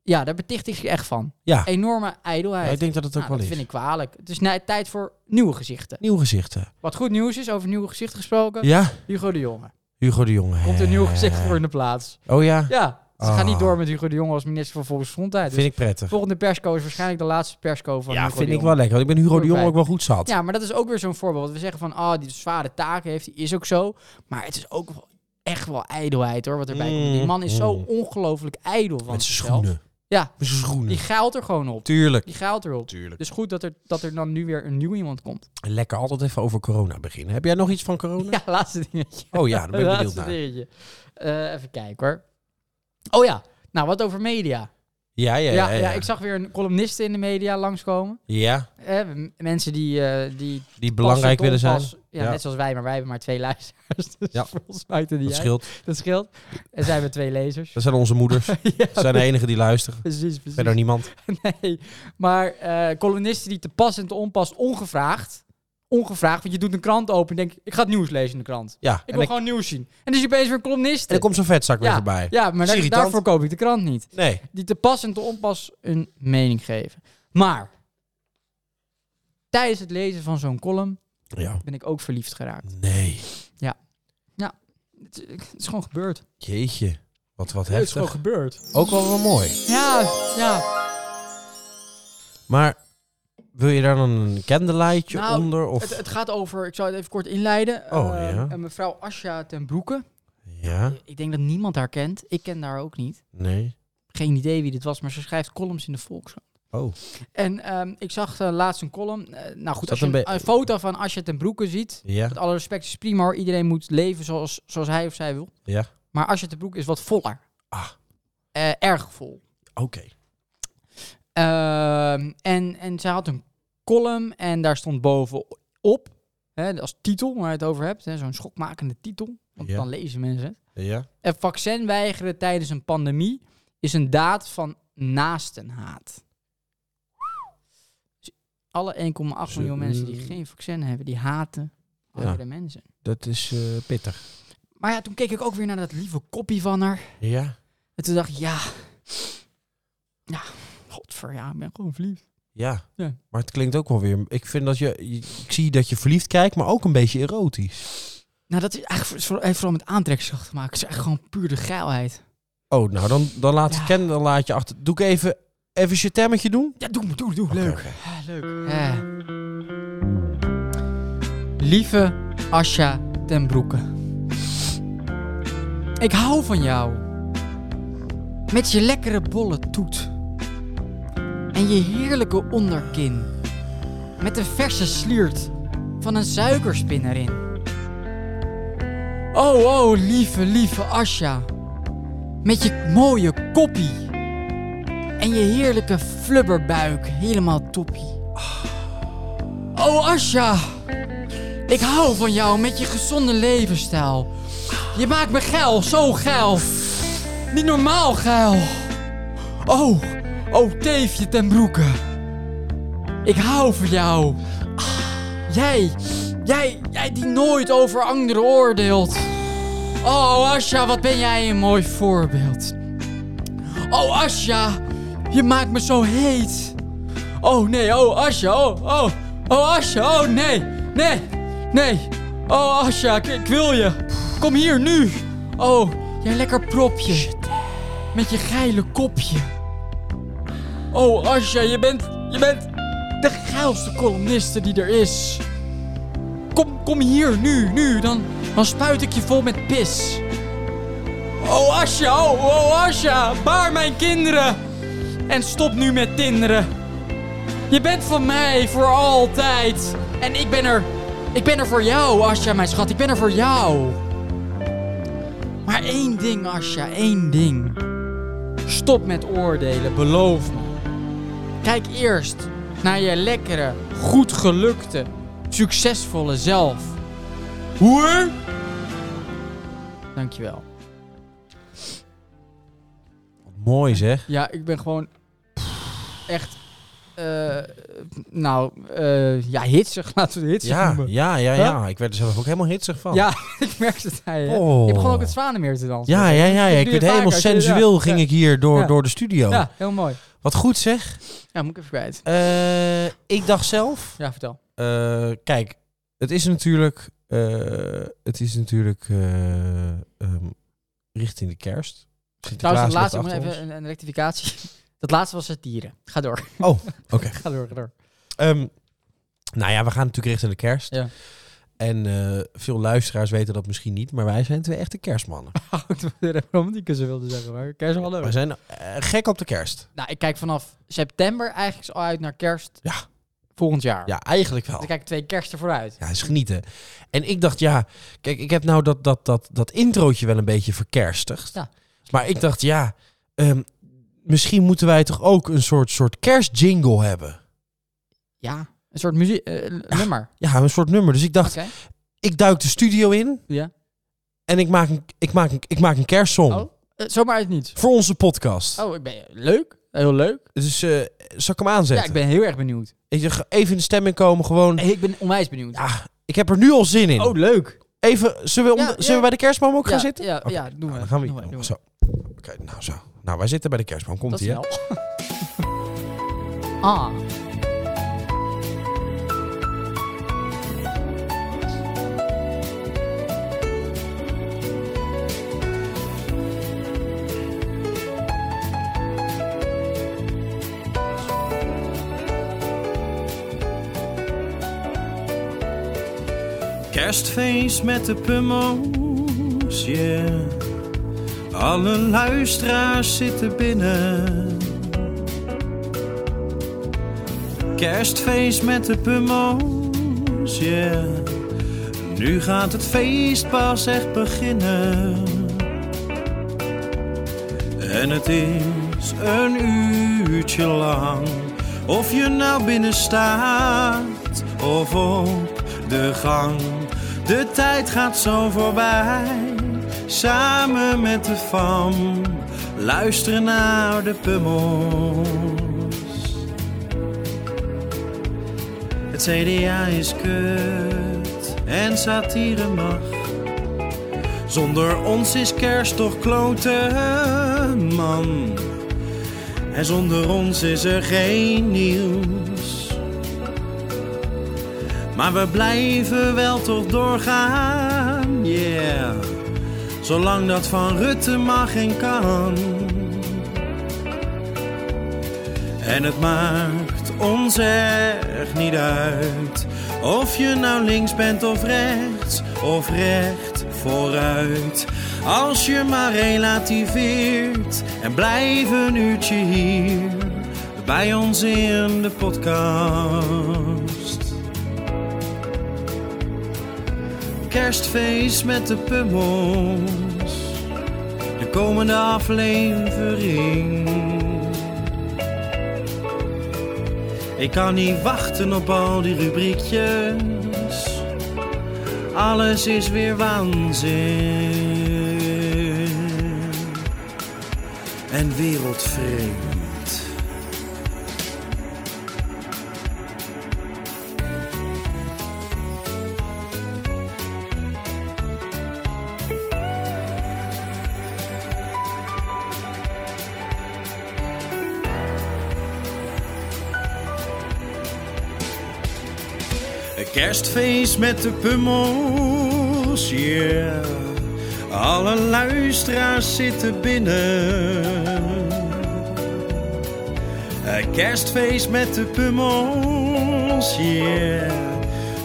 ja, daar beticht ik je echt van. Ja. Enorme ijdelheid. Ja, ik denk dat het ook Nou, wel dat is. vind ik kwalijk. Het is nou tijd voor nieuwe gezichten. Nieuw gezichten. Wat goed nieuws is, over nieuwe gezichten gesproken. Ja? Hugo de Jonge. Hugo de Jonge. Komt een nieuw gezicht hè. voor in de plaats. Oh ja? Ja, ze gaan Ah. niet door met Hugo de Jonge als minister van Volksgezondheid. Dus vind ik prettig. de volgende persco is waarschijnlijk de laatste persco van Ja, Hugo de vind ik Jonge. wel lekker. Want ik ben Hugo de Jong Voorbij. ook wel goed zat. Ja, maar dat is ook weer zo'n voorbeeld. Want we zeggen van, ah, die zware taken heeft, die is ook zo. Maar het is ook wel echt wel ijdelheid hoor, wat erbij komt. Die Mm, man is zo mm. ongelooflijk ijdel van Met zijn zichzelf. schoenen. Ja, Met zijn schoenen. die geilt er gewoon op. Tuurlijk. Die geilt erop. Tuurlijk. Dus goed dat er, dat er dan nu weer een nieuw iemand komt. Lekker altijd even over corona beginnen. Heb jij nog iets van corona? [LAUGHS] Ja, laatste dingetje. Oh ja, [LAUGHS] daar ben ik benieuwd laatste naar. dingetje. Eh, even kijken hoor. Oh ja, nou wat over media. Ja, ja, Ja, ja. ja, ik zag weer een columniste in de media langskomen. Ja, Eh, m- mensen die, eh, die die belangrijk pas en willen zijn. onpas- Ja, Ja. net zoals wij, maar wij hebben maar twee luisteraars. [LAUGHS] Dus Ja. ja. voor ons maakt het Dat niet uit. scheelt. Dat scheelt. En zijn we twee [LAUGHS] lezers. Dat zijn onze [LAUGHS] moeders. Dat ja, zijn de enigen die luisteren. precies, precies. [LAUGHS] Verder niemand. Nee, maar eh columnisten die te pas en te onpas ongevraagd, ongevraagd. Want je doet een krant open en denkt, ik ga het nieuws lezen in de krant. Ja, Ik en, wil ik- en gewoon nieuws zien. En dus je opeens weer een columnist. dan komt zo'n vetzak weer ja, voorbij. ja, maar daar- irritant. daarvoor koop ik de krant niet. Nee, Die te pas en te onpas een mening geven. Maar, tijdens het lezen van zo'n column ja. ben ik ook verliefd geraakt. Nee. Het, het is gewoon gebeurd. Jeetje. Wat, wat Het is heftig. gewoon gebeurd. Ook wel wel mooi. Ja, ja. Maar wil je daar dan een candlelightje Nou, onder? Of... Het, het gaat over, ik zal het even kort inleiden. Oh, Eh, ja. eh, mevrouw Asja ten Broeke. Ja? Ik denk dat niemand haar kent. Ik ken haar ook niet. Nee? Geen idee wie dit was, maar ze schrijft columns in de Volkskrant. Oh. En ehm, ik zag eh, laatst een column. Eh, nou goed, dat als je een een, be- een foto van Asja ten Broeke ziet... Ja? Met alle respect, het is prima hoor. Iedereen moet leven zoals, zoals hij of zij wil. Ja? Maar Asja ten Broeke is wat voller. Ah. Eh, erg vol. Oké. Ehm, en, en zij had een column en daar stond bovenop, hè, als titel waar je het over hebt, hè, zo'n schokmakende titel, want Ja. dan lezen mensen het. Ja? En vaccin weigeren tijdens een pandemie is een daad van naastenhaat. Dus Alle 1,8 miljoen Ze- mensen die geen vaccin hebben, die haten Dus, eh, Ja. andere mensen. Dat is eh, pittig. Maar ja, toen keek ik ook weer naar dat lieve kopie van haar. Ja? En toen dacht ik, ja, ja, godver, ja, ik ben gewoon verliefd. Ja. Ja. Maar het klinkt ook wel weer... Ik vind dat je... je- Ik zie dat je verliefd kijkt, maar ook een beetje erotisch. Nou, dat is eigenlijk voor- heeft vooral met aantrekkingskracht te maken. Het is echt gewoon puur de geilheid. Oh, nou dan, dan laat Ja. ik kennen, dan laat je achter. Doe ik even, even je temmetje doen? Ja, doe, doe, doe. Oké, Leuk. oké. Ja, leuk. Ja. Lieve Asja ten Broeke. Ik hou van jou. Met je lekkere bolle toet. En je heerlijke onderkin. Met de verse sliert van een suikerspin erin. Oh, oh, lieve, lieve Asja. Met je mooie koppie. En je heerlijke flubberbuik. Helemaal toppie. Oh, Asja. Ik hou van jou met je gezonde levensstijl. Je maakt me geil, zo geil. Niet normaal geil. Oh, oh, teefje ten broeke. Ik hou van jou. Jij, jij, jij die nooit over anderen oordeelt. Oh, Asja, wat ben jij een mooi voorbeeld. Oh, Asja, je maakt me zo heet. Oh, nee, oh, Asja, oh, oh. Oh, Asja, oh, nee, nee, nee. Oh, Asja, ik, ik wil je. Kom hier, nu. Oh, jij lekker propje. Met je geile kopje. Oh, Asja, je bent, je bent de geilste columniste die er is. Kom, kom hier, nu, nu, dan, dan spuit ik je vol met pis. Oh Asja, oh, oh Asja, baar mijn kinderen. En stop nu met tinderen. Je bent van mij voor altijd. En ik ben er, ik ben er voor jou Asja, mijn schat, ik ben er voor jou. Maar één ding Asja, één ding. Stop met oordelen, beloof me. Kijk eerst naar je lekkere, goed gelukte, succesvolle zelf. Hoer! Dankjewel. Wat Mooi zeg. Ja, ik ben gewoon echt. eh, nou, eh, ja, hitsig. [LAUGHS] Laten we het hitsig Ja, noemen. ja, ja, Huh? ja. Ik werd er zelf ook helemaal hitsig van. Ja, ik merk het aan je. hè. Oh. Je hebt gewoon ook het zwanenmeer te dansen. Ja, ja, ja, ja. doe Ik je werd vaak helemaal als je- sensueel ja, ging ja. ik hier door, Ja. door de studio. Ja, heel mooi. Wat goed zeg. Ja, moet ik even kwijt. Eh, ik dacht zelf... Ja, vertel. eh, kijk, het is natuurlijk... eh, het is natuurlijk eh, ehm, richting de kerst. Sinterklaas Trouwens, het laatste, ik ligt moet achter even een, een rectificatie. [LAUGHS] Dat laatste was het dieren. Ga door. [LAUGHS] ons. Oh, oké. Ga door, ga door. Ehm, nou ja, we gaan natuurlijk richting de kerst. Ja. En eh, veel luisteraars weten dat misschien niet, maar wij zijn twee echte kerstmannen. Houdt me [LAUGHS] weer even om die kussen wilde zeggen. Maar kerst wel wij leuk. zijn eh, gek op de kerst. Nou, ik kijk vanaf september eigenlijk zo uit naar kerst. Ja. Volgend jaar. Ja, eigenlijk wel. Dan kijk ik twee kersten vooruit. Ja, is genieten. En ik dacht, ja, kijk, ik heb nou dat, dat, dat, dat introotje wel een beetje verkerstigd. Ja. Maar ik dacht, ja, ehm, misschien moeten wij toch ook een soort, soort kerstjingle hebben. Ja, een soort muziek, eh, nummer. Ja, een soort nummer. Dus ik dacht, Oké. ik duik de studio in Ja. en ik maak een, ik maak een, ik maak een kerstsong Oh. Eh, zomaar uit het niets. voor onze podcast. Oh, ik ben leuk. Heel leuk. Dus eh, zal ik hem Ja, aanzetten? ik ben heel erg benieuwd. Ik zeg, even in de stemming komen, gewoon. Hey, ik ben onwijs benieuwd. Hm. Ja, ik heb er nu al zin in. Oh, leuk. Even, zullen we, om- Ja, zullen we ja. bij de kerstboom ook ja, gaan zitten? Ja, Oké, ja, doen we. nou, dan gaan we. Doen we, doen we. Zo. Oké, nou zo. Nou, wij zitten bij de kerstboom. Komt Dat is ie, hè? [LAUGHS] wel. ah. Kerstfeest met de pummels, yeah. Alle luisteraars zitten binnen. Kerstfeest met de pummels, yeah. Nu gaat het feest pas echt beginnen. En het is een uurtje lang. Of je nou binnen staat of op de gang. De tijd gaat zo voorbij. Samen met de fam. Luisteren naar de pummels. Het CDA is kut en satire mag. Zonder ons is kerst toch kloten, man. En zonder ons is er geen nieuws. Maar we blijven wel toch doorgaan, yeah. Zolang dat van Rutte mag en kan. En het maakt ons echt niet uit. Of je nou links bent of rechts, of recht vooruit. Als je maar relativeert en blijf een uurtje hier bij ons in de podcast. Kerstfeest met de pummels, de komende aflevering. Ik kan niet wachten op al die rubriekjes. Alles is weer waanzin. En wereldvreemd. Een kerstfeest met de pummels, yeah. Alle luisteraars zitten binnen. Een kerstfeest met de pummels, yeah.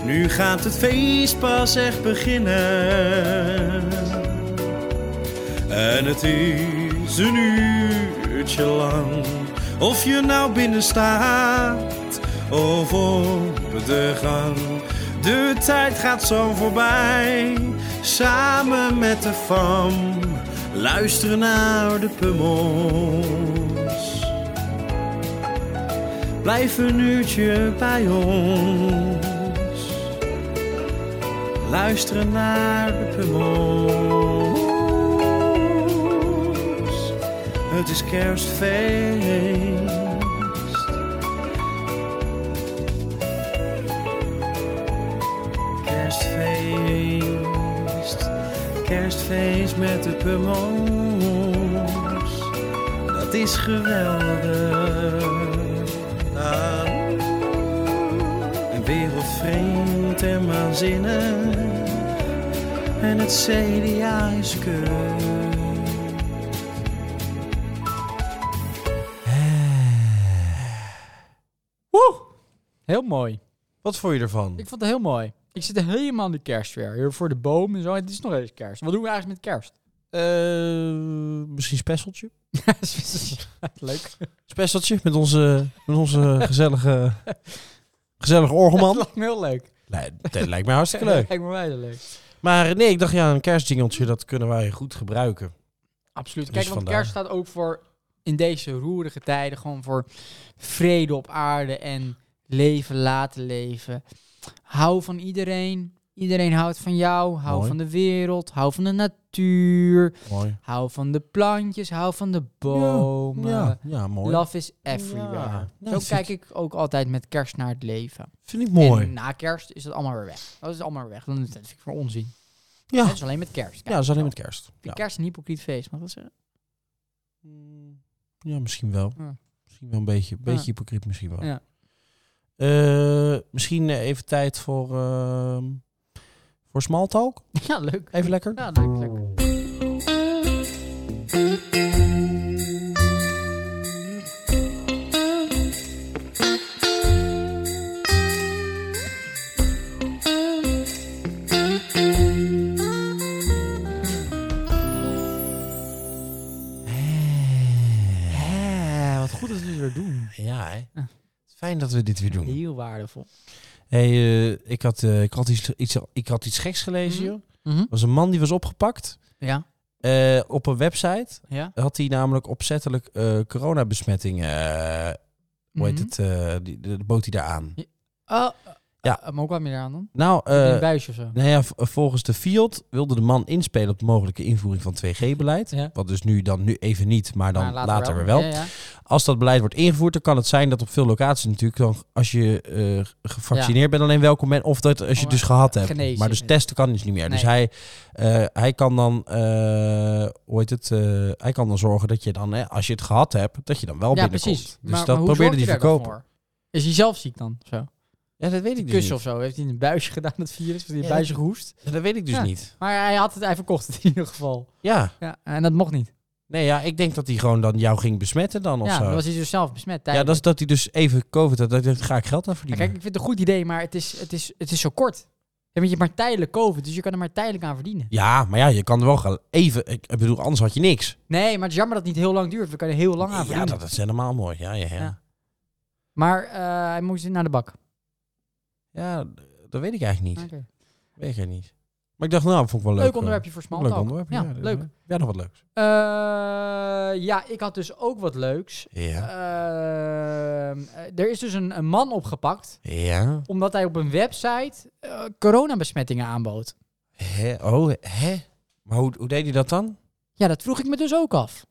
Nu gaat het feest pas echt beginnen. En het is een uurtje lang. Of je nou binnen staat of op de gang. De tijd gaat zo voorbij. Samen met de fam. Luisteren naar de pummels. Blijf een uurtje bij ons. Luisteren naar de pummels. Het is kerstfeest. Kerstfeest. Kerstfeest met de pummels. Dat is geweldig. Ah. Een wereldvreemd en waanzinnig. En het CDA is kut. Woe! Heel mooi. Wat vond je ervan? Ik vond het heel mooi. Ik zit helemaal in de kerstsfeer. Hier voor de boom en zo. Het is nog eens kerst. Wat doen we eigenlijk [LAUGHS] met kerst? [LAUGHS] Eh, misschien spesseltje? Leuk. Spesseltje met onze, met onze [LAUGHS] gezellige, gezellige [LAUGHS] orgelman. Heel leuk. Nee, dat lijkt mij hartstikke leuk. Kijk maar mij dat leuk. Maar nee, ik dacht ja, een kerstjingeltje, dat kunnen wij goed gebruiken. Absoluut. Dus Kijk, want vandaar. kerst staat ook voor in deze roerige tijden gewoon voor vrede op aarde en leven laten leven. Hou van iedereen. Iedereen houdt van jou, hou Mooi. van de wereld, hou van de natuur, Mooi. hou van de plantjes, hou van de bomen. Ja, eh, ja, mooi. Love is everywhere. Ja, ja, Zo dat kijk ik ook altijd met kerst naar het leven. Vind ik mooi. En na kerst is het allemaal weer weg. Dat is allemaal weer weg. Dan is dat vind ik voor onzin. ja. Dat is alleen met kerst. ja, dat is alleen met kerst. Ja. Ja. Kerst een hypocriet feest, mag ik dat zeggen? ja, misschien wel. Ja. Misschien wel een beetje, beetje Ja. hypocriet misschien wel. Ja. Eh, misschien eh, even tijd voor, ehm voor smalltalk. [LAUGHS] Ja, leuk. Even lekker. Ja, leuk, leuk. Oh. Hé, wat goed dat we het weer doen. Eh. Ja, hè. Ja. Fijn dat we dit weer doen. Heel waardevol. Hey, eh, ik, had, eh, ik, had iets, iets, ik had iets geks gelezen, Mhm. joh. Er was een man die was opgepakt Ja, eh, op een website. ja. Had hij namelijk opzettelijk eh coronabesmetting, eh hoe heet Mhm. het, eh, die, de, de bood hij daar aan. Oh, Ja. ja. maar hoe kwam je eraan dan? Nou, In eh, een buisje of zo? Nou ja, v- volgens de Fiat wilde de man inspelen op de mogelijke invoering van 2G-beleid. Ja. Wat dus nu dan nu even niet, maar dan Maar later, weer wel. Ja, ja. Als dat beleid wordt ingevoerd, dan kan het zijn dat op veel locaties natuurlijk, dan, als je eh, gevaccineerd bent, alleen welkom bent. Of dat als je Oh, het dus eh, gehad hebt. genezen. Maar dus testen kan dus niet meer. Dus Nee. hij, eh, hij kan dan, eh, hoe heet het, eh, hij kan dan zorgen dat je dan, hè, als je het gehad hebt, dat je dan wel ja, binnenkomt. precies. Dus maar, dat maar hoe probeerde zorgt hij hij daar dan verkopen. voor? Is hij zelf ziek dan? Zo? Ja, dat weet Die ik kus dus of niet. zo? Heeft hij in een buisje gedaan, dat virus? Heeft hij in een Ja, buisje gehoest? Ja, Dat weet ik dus Ja. niet. Maar hij, had het, hij verkocht het in ieder geval. Ja. Ja, en dat mocht niet. Nee, ja, ik denk dat hij gewoon dan jou ging besmetten dan of Ja, zo. dan was hij dus zelf besmet. Ja, tijdelijk. dat is dat hij dus even COVID had. Dat hij dacht, ga ik geld aan Maar verdienen. Kijk, ik vind het een goed idee, maar het is, het is, het is zo kort. Ja, want je hebt maar tijdelijk COVID, dus je kan er maar tijdelijk aan verdienen. Ja, maar ja, je kan er wel gaan even. Ik bedoel, anders had je niks. Nee, maar het is jammer dat het niet heel lang duurt. We kunnen er heel lang aan ja, verdienen. dat, dat is helemaal mooi. Ja, ja, ja. Ja. ja. Maar eh, hij moest naar de bak. d- dat weet ik eigenlijk niet. Oké. Weet ik eigenlijk niet. Maar ik dacht, nou, vond ik wel leuk. Leuk eh, onderwerpje voor Smalltalk. Leuk onderwerp. Ja, dat- leuk. Ja, nog wat leuks. Eh, ja, ik had dus ook wat leuks. Ja. Ehm, eh, er is dus een, een man opgepakt Ja. omdat hij op een website eh, coronabesmettingen aanbood. Hè? Oh, hè? Maar hoe, hoe deed hij dat dan? Ja, dat vroeg ik me dus ook af.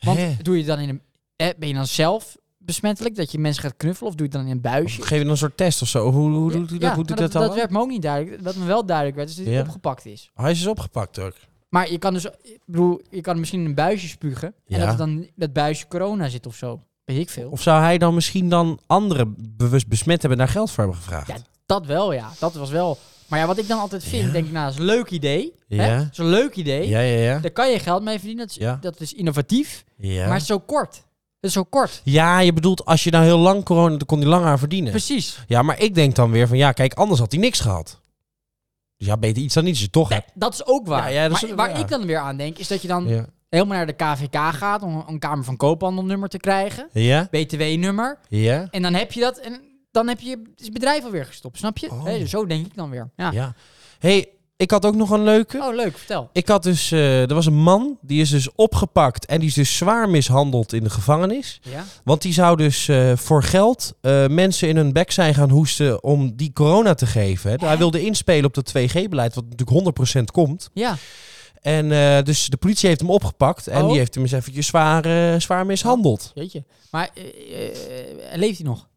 Want Hè? doe je dan in een eh, ben je dan zelf besmettelijk dat je mensen gaat knuffelen of doe je het dan in een Of buisje? geef je dan een soort test of zo? Hoe, hoe doet hij Ja, dat? Hoe doet maar dat dan? Dat werd me ook niet duidelijk. Wat me wel duidelijk werd is dat hij Ja. opgepakt is. Hij is dus opgepakt ook. Maar je kan dus, ik bedoel, je kan misschien in een buisje spugen en Ja. dat er dan dat buisje corona zit of zo. Weet ik veel. Of zou hij dan misschien dan anderen bewust besmet hebben en daar geld voor hebben gevraagd? Ja, dat wel, ja. Dat was wel. Maar ja, wat ik dan altijd vind, Ja. denk ik, nou, dat is een leuk idee. Hè? Ja. Dat is een leuk idee. ja, ja. ja. Daar kan je geld mee verdienen. Dat is, Ja. dat is innovatief. ja. Maar het is zo kort. Het is zo kort. Ja, je bedoelt als je nou heel lang corona, dan kon hij lang aan verdienen. Precies. Ja, maar ik denk dan weer van ja, kijk, anders had hij niks gehad. Dus ja, beter iets dan niets, als je het toch hebt. Dat is ook waar. Ja, ja, dat maar is- waar ja. ik dan weer aan denk, is dat je dan Ja. helemaal naar de KVK gaat om een Kamer van Koophandelnummer te krijgen. Ja? BTW-nummer. Ja? En dan heb je dat en dan heb je je bedrijf alweer gestopt. Snap je? Oh. Hé, zo denk ik dan weer. Ja. Ja. hey, ik had ook nog een leuke. Oh, leuk. Vertel. Ik had dus, eh, er was een man, die is dus opgepakt en die is dus zwaar mishandeld in de gevangenis. Ja? Want die zou dus eh, voor geld eh, mensen in hun bek zijn gaan hoesten om die corona te geven. Hè. Hij wilde inspelen op dat 2G-beleid, wat natuurlijk 100% komt. Ja. En eh, dus de politie heeft hem opgepakt en Oh. die heeft hem eens eventjes zwaar, eh, zwaar mishandeld. Jeetje. Maar eh, eh, leeft hij nog?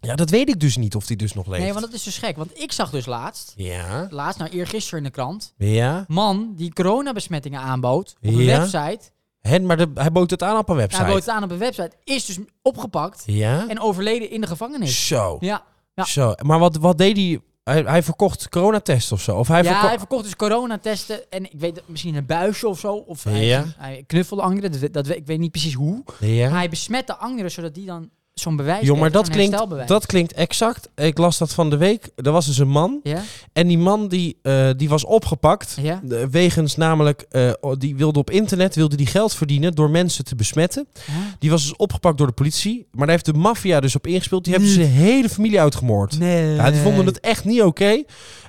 Ja, dat weet ik dus niet of die dus nog leeft. Nee, want dat is dus gek. Want ik zag dus laatst, Ja, laatst, nou eergisteren in de krant, ja. man die coronabesmettingen aanbood op een Ja. website. Hen, maar de- hij bood het aan op een Ja, website. hij bood het aan op een website, is dus opgepakt Ja? en overleden in de gevangenis. Zo, Ja, ja. zo. Maar wat, wat deed hij? hij? Hij verkocht coronatests of zo? Of hij ja verko- hij verkocht dus coronatesten en ik weet het, misschien een buisje of zo. Of hij, Ja. hij knuffelde anderen, dat, we- dat, we- ik weet niet precies hoe. Ja. Maar hij besmette anderen, zodat die dan zo'n bewijs Joh, maar kregen, dat zo'n klinkt, herstelbewijs. dat klinkt exact. Ik las dat van de week. Er was dus een man. Ja? En die man die, eh, die was opgepakt. Ja? eh, Wegens namelijk, eh, die wilde op internet wilde die geld verdienen door mensen te besmetten. Huh? Die was dus opgepakt door de politie. Maar daar heeft de maffia dus op ingespeeld. Die hebben zijn hele familie uitgemoord. Nee. Ja, die vonden het echt niet oké.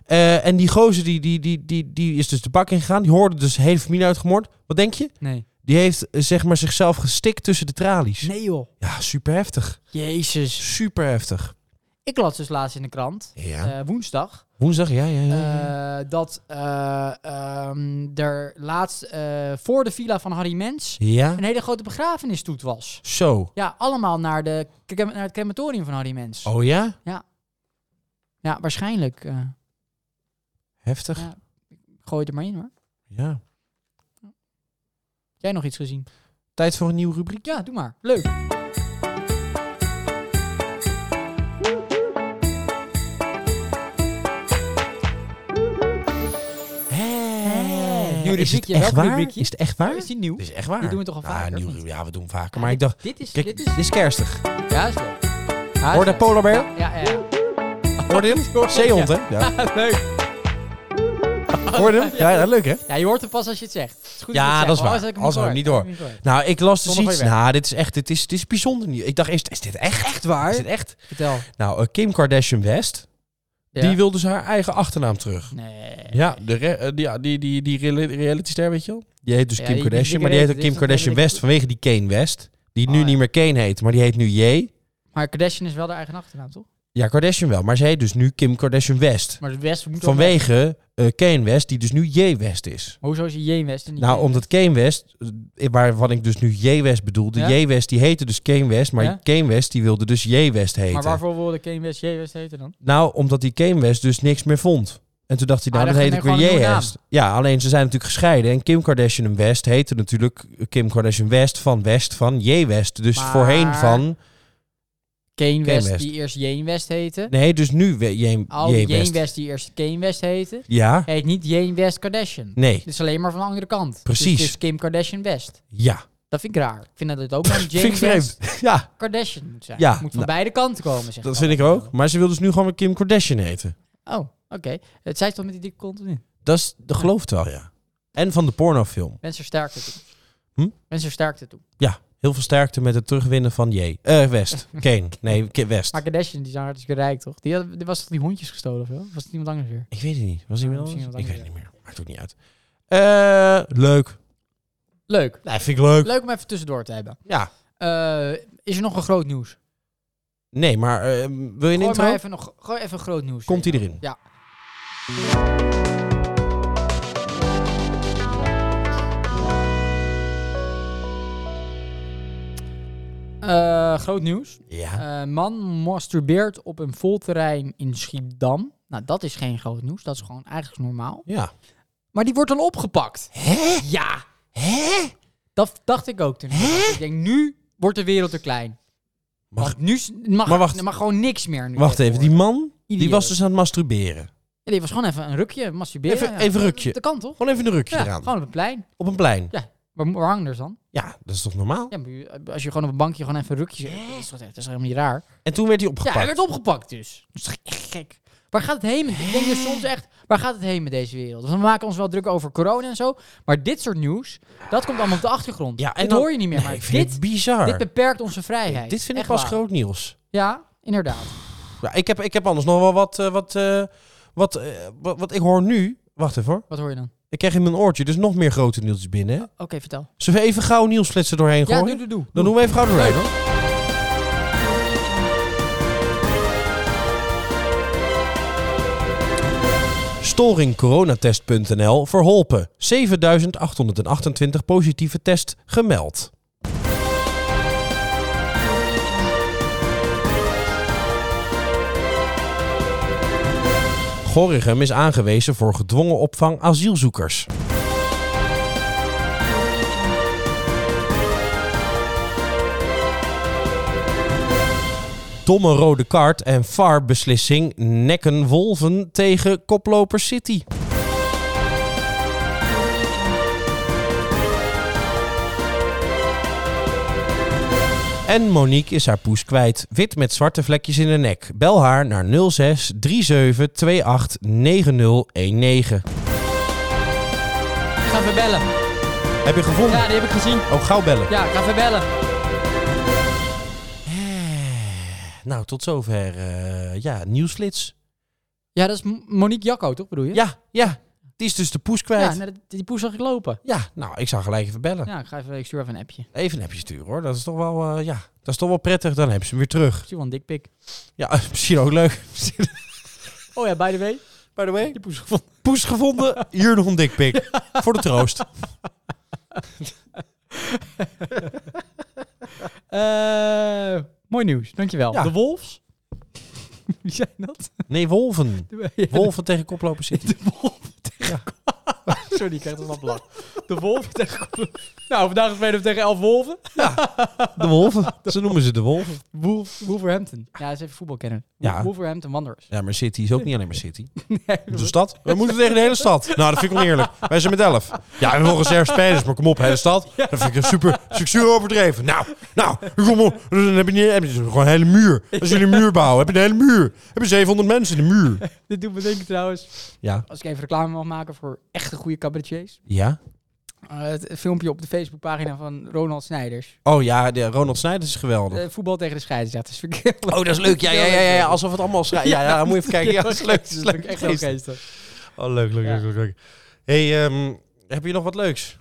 Eh, en die gozer die, die, die, die, die is dus de bak ingegaan. Die hoorde dus de hele familie uitgemoord. Wat denk je? Nee. Die heeft eh, zeg maar zichzelf gestikt tussen de tralies. Nee joh. Ja, super heftig. Jezus. Super heftig. Ik las dus laatst in de krant, Ja. eh, woensdag, Woensdag, ja, ja, ja. ja. eh, dat eh, ehm, er laatst eh, voor de villa van Harry Mens ja. een hele grote begrafenisstoet was. Zo. Ja, allemaal naar, de, crema- naar het crematorium van Harry Mens. Oh ja? Ja, waarschijnlijk. eh Heftig. Ja. gooi het er maar in hoor. Ja. Jij nog iets gezien? Tijd voor een nieuwe rubriek. Ja, doe maar. Leuk. Hé. Nieuw Is het rubriekje, echt welk waar? rubriekje? Is het echt waar? Is die nieuw? Dit is echt waar. Die doen we toch al Ah, vaker, nieuw of niet? rubriek. ja, we doen hem vaker. Maar ik dacht, Dit is... kijk, dit is... kerstig. Ja, is leuk. Ja, is Hoor dat leuk. polarbeer? Ja, ja, ja. [LAUGHS] Hoor je [LAUGHS] hem? Zeehond, hè? Ja. leuk. Hoor je hem? Ja, ja, leuk, hè? Ja, je hoort het pas als je het zegt. Het is goed Ja, je het dat zegt. is waar. Anders had ik hem Anders had ik hem hoor. niet Had ik hem Nou, ik las dus Zonder iets. van je Nou, dit is echt, dit is, dit is bijzonder nieuw. Ik dacht eerst, is dit echt? Echt hoor. Is Waar? dit echt? Vertel. Nou, eh, Kim Kardashian West, die wil... wil dus haar eigen achternaam terug. Nee. Ja, de re- eh, die, ja, die, die, die reali- realityster, weet je wel? Die heet dus Ja, Kim die- die Kardashian, maar die dikke heette reet, Kim die is Kardashian toch helemaal West vanwege die Kane West. Die Oh, nu ja. niet meer Kane heet, maar die heet nu J. Maar Kardashian is wel de eigen achternaam, toch? Ja, Kardashian wel, maar ze heet dus nu Kim Kardashian West. Maar West moet wel- Vanwege eh Kane West, die dus nu J West is. Hoezo is hij Jane West en niet Nou, Jane omdat Kane West, eh, waarvan ik dus nu J West bedoelde. Ja? J West, die heette dus Kane West, maar Ja? Kane West, die wilde dus J West heten. Maar waarvoor wilde Kane West J West heten dan? Nou, omdat die Kane West dus niks meer vond. En toen dacht hij, Ah, nou, dan dat heet gaat ik hij weer gewoon een nieuwe J-West. Ja, alleen ze zijn natuurlijk gescheiden. En Kim Kardashian en West heette natuurlijk Kim Kardashian West van West van J-West. Dus Maar- voorheen van... Kane West, West. die eerst Jane West heette. Nee, dus nu we- J- Oh, Jane J-West. West. die eerst Kane West heette. Ja, Heet niet Jane West Kardashian. nee, Het is alleen maar van de andere kant. Precies. Dus het is Kim Kardashian West. ja. Dat vind ik raar. Ik vind dat het ook [LAUGHS] een Jane vind ik West vreemd. Ja, Kardashian moet zijn. Ja, Het moet van nou, beide kanten komen, zeg dat vind ik ook. Maar ze wil dus nu gewoon weer Kim Kardashian heten. Oh, oké. Het zij toch met die dikke kont nu. Dat is de geloof het wel, ja. En van de pornofilm. Mensen sterkte toe. Hm? Mensen sterkte toe. Ja, heel veel sterkte met het terugwinnen van J. Eh, [LAUGHS] West. Kane. Nee, Ki- West. Maar Kardashian, die zijn hartstikke rijk, toch? Die, had, die was toch die hondjes gestolen of zo? Was het iemand anders weer? Ik weet het niet. Was hij Ja, wel? Ik misschien weet wat het niet anders, meer. Maakt ook niet uit. Eh, leuk. Leuk. Nee, vind ik leuk. Leuk om even tussendoor te hebben. Ja. Eh, is er nog een groot nieuws? Nee, maar eh, wil je een Gooi maar intro? even, nog, gooi even groot nieuws. Komt erin. hij erin? Ja. Eh, groot nieuws. Ja. Eh, man masturbeert op een volterrein in Schiedam. Nou, dat is geen groot nieuws. Dat is gewoon eigenlijk normaal. ja. Maar die wordt dan opgepakt. Hè? Ja, Hè? dat dacht ik ook toen. ik dat las. Ik denk, nu wordt de wereld te klein. Mag- Want nu s- mag, Maar wacht. mag gewoon niks meer. Nu Wacht even, die man die Idioot. was dus aan het masturberen. Ja, dit was gewoon even een rukje, masturberen. Even- Ja, even dat- rukje. Dat kan toch? Gewoon even een rukje Ja, eraan. gewoon op een plein. Op een plein. Waar, waar hangen er dan? Ja, dat is toch normaal? Ja, maar je- als je gewoon op een bankje gewoon even een rukje zet, dat is, toch, dat is toch helemaal niet raar? En toen werd hij Ja, hij opgepakt. werd opgepakt dus. Dat is toch echt gek? Waar gaat het heen? met- Ik denk dus soms echt, waar gaat het heen met deze wereld? Want we maken ons wel druk over corona en zo, maar dit soort nieuws, dat komt allemaal op de achtergrond. Ja, en dat dan- hoor je niet meer, Nee, maar ik vind dit, het bizar. dit beperkt onze vrijheid. Dit vind ik Echt pas waar. groot nieuws. Ja, inderdaad. Ja, ik, heb, ik heb anders nog wel wat... eh, wat, eh, wat, eh, wat, wat ik hoor nu... Wacht even hoor. Wat hoor je dan? Ik krijg in mijn oortje dus nog meer grote nieuwtjes binnen. hè? Oké, vertel. Zullen we even gauw nieuwsflitsen doorheen Ja, gooien? doe, doe, doe. Dan doen we even gauw doorheen hoor. Storing coronatest.nl verholpen. 7828 positieve test gemeld. Gorinchem is aangewezen voor gedwongen opvang asielzoekers. domme rode kaart en VAR-beslissing nekken wolven tegen koploper City. En Monique is haar poes kwijt. Wit met zwarte vlekjes in de nek. Bel haar naar 06 37 28 9019. Ik ga even bellen. Heb je gevonden? Ja, die heb ik gezien. Oh, gauw bellen. Eh, Ja, ik ga even bellen. Nou, tot zover. eh, ja, nieuwsflits. Ja, dat is M- Monique Jacco, toch bedoel je? Ja, ja. Die is dus de poes Ja, kwijt. Ja, nou, die- die poes zag ik lopen. nou, ik zou gelijk even bellen. Ja, ik, ga even, ik stuur even een appje. Ik Even een appje sturen hoor. Dat is toch wel, eh, ja, dat is toch wel prettig. Dan hebben ze hem weer terug. stuur wel een dikpik. Ja, [LAUGHS] misschien ook leuk. Oh ja, by the way. By the way, Die poes gevonden. poes gevonden. Hier nog een [LAUGHS] dikpik. Voor de troost. Eh, mooi nieuws, dankjewel. Ja. De Wolves. Wie zijn dat? Nee, [LAUGHS] wolven. De- [LAUGHS] ja, Wolven tegen koploper City. De Wolf tegen... Sorry, ik krijg er een blad. [LAUGHS] De Wolf tegen... Nou, vandaag spelen we tegen elf wolven. [LAUGHS] De wolven. Ze noemen ze de wolven. Wolf, Wolverhampton. Ja, is even voetbalkenner. Ja. Wolverhampton Wanderers. Ja, maar City is ook niet alleen maar City. [LAUGHS] Nee, De stad? We moeten tegen de hele stad. Nou, dat vind ik oneerlijk. Wij zijn met 11. Ja, en nog reserve spelers, maar kom op, hele stad. Dat vind ik echt super succes overdreven. Nou, nou, kom op. Dan heb je, niet, heb je gewoon een hele muur. Als jullie een muur bouwen, heb je een hele muur. Heb je 700 mensen in de muur. dit doet me denken trouwens. Ja. Als ik even reclame mag maken voor echte goede cabaretiers. Ja? Eh, het filmpje op de Facebookpagina van Ronald Snijders. Oh ja, de Ronald Snijders is geweldig. Eh, voetbal tegen de scheidsrechters. [LAUGHS] Vind ik heel Oh, dat is leuk. Ja, ja, ja, ja. ja. Alsof het allemaal schrijft. Ja, ja, moet je even [LAUGHS] kijken. Ja, dat is leuk. Dat is Dat vind leuk. ik echt heel Geestig. geestig. Oh, leuk, leuk, leuk, leuk. leuk. hey, ehm, heb je nog wat leuks?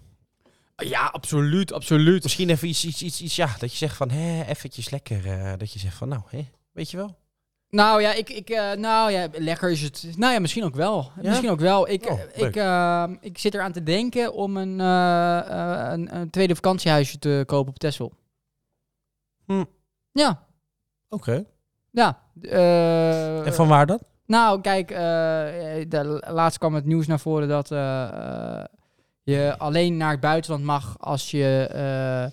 Ja, absoluut, absoluut. Misschien even iets, iets, iets, iets ja, dat je zegt van, hè, eventjes lekker. eh, dat je zegt van, nou, hè, weet je wel. Nou ja, ik, ik, eh, nou ja, lekker is het. Nou ja, misschien ook wel. Ja? Misschien ook wel. Ik, Oh, ik, eh, ik zit eraan te denken om een, eh, eh, een, een tweede vakantiehuisje te kopen op Texel. Hm. Ja, Oké. ja. eh, En van waar dan? Nou, kijk, eh, eh, de, laatst kwam het nieuws naar voren dat eh, eh, je alleen naar het buitenland mag als je... eh,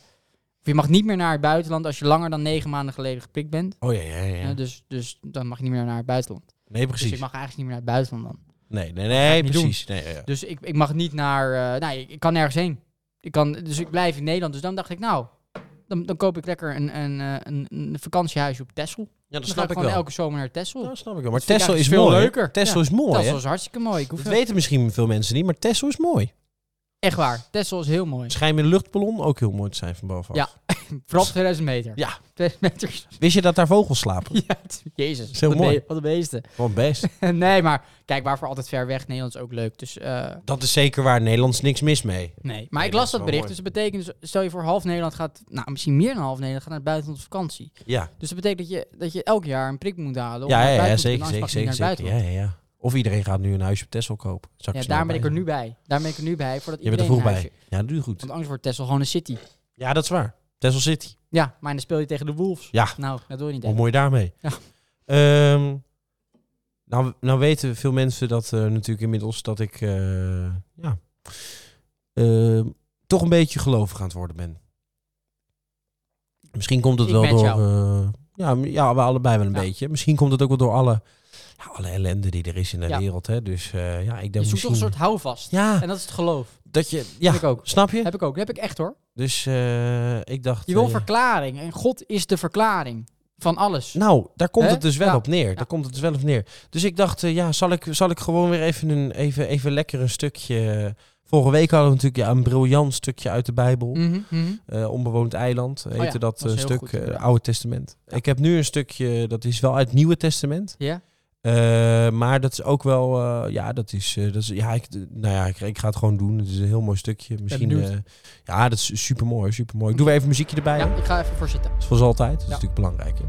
of je mag niet meer naar het buitenland als je langer dan negen maanden geleden geprikt bent. Oh ja, ja, ja. Eh, dus, dus dan mag je niet meer naar het buitenland. nee, Dus precies. ik mag eigenlijk niet meer naar het buitenland dan. Nee, nee, nee, niet precies. Nee, ja, ja. Dus ik, ik mag niet naar... eh, nou, ik, ik kan nergens heen. Ik kan, dus ik blijf in Nederland. Dus dan dacht ik, nou, dan, dan koop ik lekker een, een, eh, een, een vakantiehuisje op Texel. Ja, dat Dan ga ik snap ik gewoon wel. elke zomer naar Texel. Dat snap ik wel. Maar vind ik Tesla is eigenlijk veel veel leuker. leuker. Tesla Ja, is mooi, Texel hè? is hartstikke mooi. Ik hoef Dat weten misschien veel mensen niet, maar Tesla is mooi. Echt waar. Texel is heel [LAUGHS] mooi. Schijnt met een luchtballon ook heel mooi te zijn van bovenaf. Ja. Vooral op 2000 meter. Ja. 2000 meter. [LAUGHS] Wist je dat daar vogels slapen? Ja, het- jezus. Is heel wat een mooi. be- Wat een beesten. Want best. [LAUGHS] nee, maar kijk, waarvoor altijd ver weg? Nederland is ook leuk. Dus eh, [LAUGHS] Dat is zeker waar. Nederlands niks mis mee. nee. Nee, Maar ik dat is wel las dat bericht. mooi. Dus dat betekent, dus, stel je voor half Nederland gaat, nou misschien meer dan half Nederland gaat naar het buitenland op vakantie. Ja, Dus dat betekent dat je, dat je elk jaar een prik moet halen. om ja, naar ja, het ja, buitenland te zeker, kunnen, zeker, anders mag je zeker. niet zeker. naar Ja, het ja, ja. Of iedereen gaat nu een huisje op Tesla kopen. Zou buitenland. Ja, daar ben ik er nu bij. Daar ben ik er nu bij. Voordat Je bent er iedereen vroeg een huisje- bij. Ja, dat doe je goed. Want anders wordt Texel gewoon een city. Ja, dat is waar. Tesla City. Ja, maar dan speel je tegen de Wolves. Ja. Nou, dat wil je niet. Hoe hè? mooi daarmee. Ja. Ehm, nou, nou weten veel mensen dat eh, natuurlijk inmiddels dat ik eh, ja, ehm, toch een beetje gelovig aan het worden ben. Misschien komt het Ik wel met door. jou. eh, ja, m- ja, we allebei wel een Ja. beetje. Misschien komt het ook wel door alle, ja, alle ellende die er is in de Ja. wereld. Hè? Dus eh, ja, ik Je denk zoekt toch misschien. een soort houvast. Ja, En dat is het geloof. dat je. Ja, Heb ik ook. snap je? Heb ik ook. Heb ik echt hoor. Dus eh, ik dacht. Je wil eh, verklaring. En God is de verklaring van alles. Nou, daar komt Hè? het dus wel Ja. op neer. Daar komt het dus wel op neer. Dus ik dacht, eh, ja, zal ik, zal ik gewoon weer even, een, even, even lekker een stukje... Vorige week hadden we natuurlijk ja, een briljant stukje uit de Bijbel. Mhm, mhm. Eh, Onbewoond eiland heette Oh ja, dat was eh, heel stuk, goed. eh, Ja. Oude Testament. Ik heb nu een stukje, dat is wel uit het Nieuwe Testament. Ja? Eh, maar dat is ook wel, eh, ja, dat is, eh, dat is ja, ik, nou ja, ik, ik ga het gewoon doen. Het is een heel mooi stukje. Misschien, benieuwd. eh, ja, dat is super mooi, super mooi. Ik doe weer even muziekje erbij. hè? ja, ik ga even voor zitten. Zoals altijd. Dat is Ja. natuurlijk belangrijk. Hè?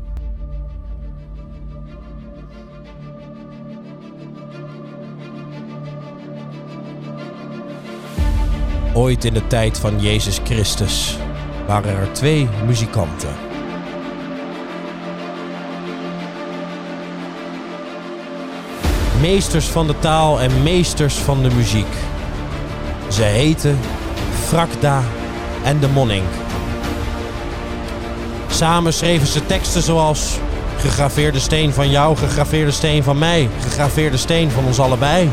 Ooit in de tijd van Jezus Christus waren er twee muzikanten. Meesters van de taal en meesters van de muziek. Ze heten Frakda en de Monnik. Samen schreven ze teksten zoals... Gegraveerde steen van jou, gegraveerde steen van mij, gegraveerde steen van ons allebei.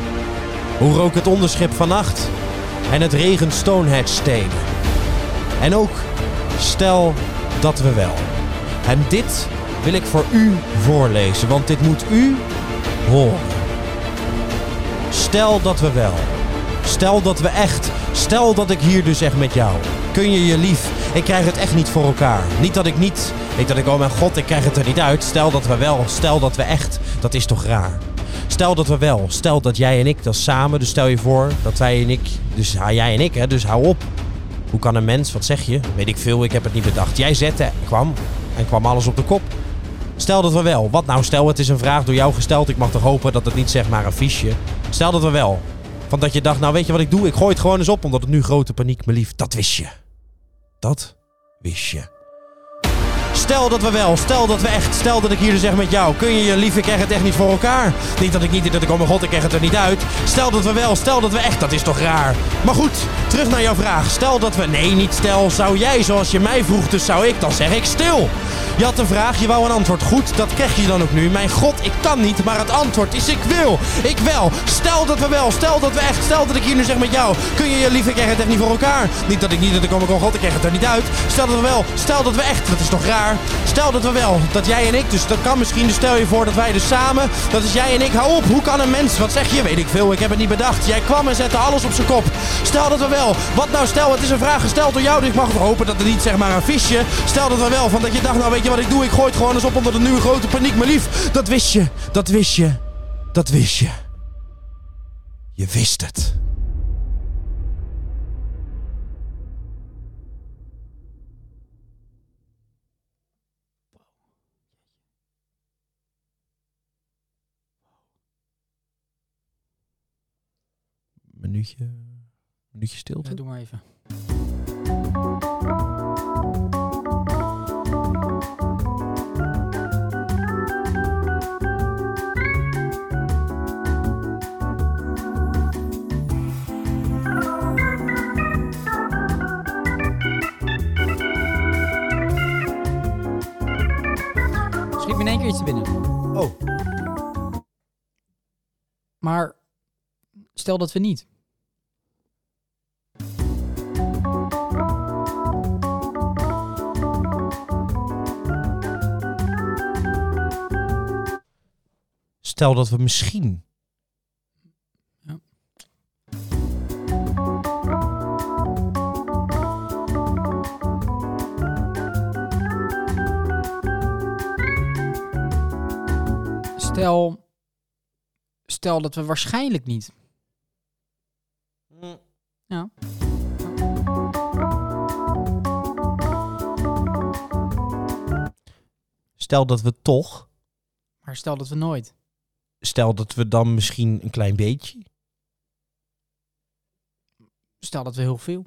Hoe rook het onderschip vannacht? En het regent Stonehenge stenen. En ook, stel dat we wel. En dit wil ik voor u voorlezen, want dit moet u horen. Stel dat we wel. Stel dat we echt. Stel dat ik hier dus echt met jou. Kun je je lief? Ik krijg het echt niet voor elkaar. Niet dat ik niet. Niet dat ik, oh mijn god, ik krijg het er niet uit. Stel dat we wel. Stel dat we echt. Dat is toch raar. Stel dat we wel. Stel dat jij en ik dat samen. Dus stel je voor dat wij en ik. Dus ja, jij en ik, hè. Dus hou op. Hoe kan een mens, wat zeg je? Weet ik veel, ik heb het niet bedacht. Jij zette, kwam. En kwam alles op de kop. Stel dat we wel. Wat nou, stel het is een vraag door jou gesteld. Ik mag toch hopen dat het niet zeg maar een fiche. Stel dat we wel. Van dat je dacht, nou weet je wat ik doe? Ik gooi het gewoon eens op, omdat het nu grote paniek, me lief. Dat wist je. Dat wist je. Stel dat we wel, stel dat we echt, stel dat ik hier dus zeg met jou. Kun je je lief, ik krijg het echt niet voor elkaar. Niet dat ik niet, dat ik, oh mijn god, ik krijg het er niet uit. Stel dat we wel, stel dat we echt, dat is toch raar. Maar goed, terug naar jouw vraag. Stel dat we, nee, niet stel, zou jij zoals je mij vroeg, dus zou ik, dan zeg ik stil. Je had een vraag, je wou een antwoord. Goed, dat krijg je dan ook nu. Mijn god, ik kan niet, maar het antwoord is ik wil. Ik wel. Stel dat we wel, stel dat we echt, stel dat ik hier nu zeg met jou. Kun je je lief, ik krijg het echt niet voor elkaar. Niet dat ik niet, dat ik, oh mijn god, ik krijg het er niet uit. Stel dat we wel, stel dat we echt, dat is toch raar. Stel dat we wel, dat jij en ik, dus dat kan misschien, dus stel je voor dat wij dus samen, dat is jij en ik, hou op, hoe kan een mens, wat zeg je, weet ik veel, ik heb het niet bedacht. Jij kwam en zette alles op zijn kop. Stel dat we wel, wat nou stel, het is een vraag gesteld door jou, dus ik mag toch hopen dat het niet zeg maar een visje. Stel dat we wel, van dat je dacht, nou weet je wat ik doe, ik gooi het gewoon eens op omdat het nu een grote paniek, maar lief, dat wist je, dat wist je, dat wist je. Je wist het. Minuutje, minuutje stilte. Ja, doe maar even. Schiet me in één keer iets te binnen. Oh. Maar stel dat we niet. Stel dat we misschien. Ja. Stel, stel dat we waarschijnlijk niet. Mm. Ja. Stel dat we toch. Maar stel dat we nooit. Stel dat we dan misschien een klein beetje. Stel dat we heel veel.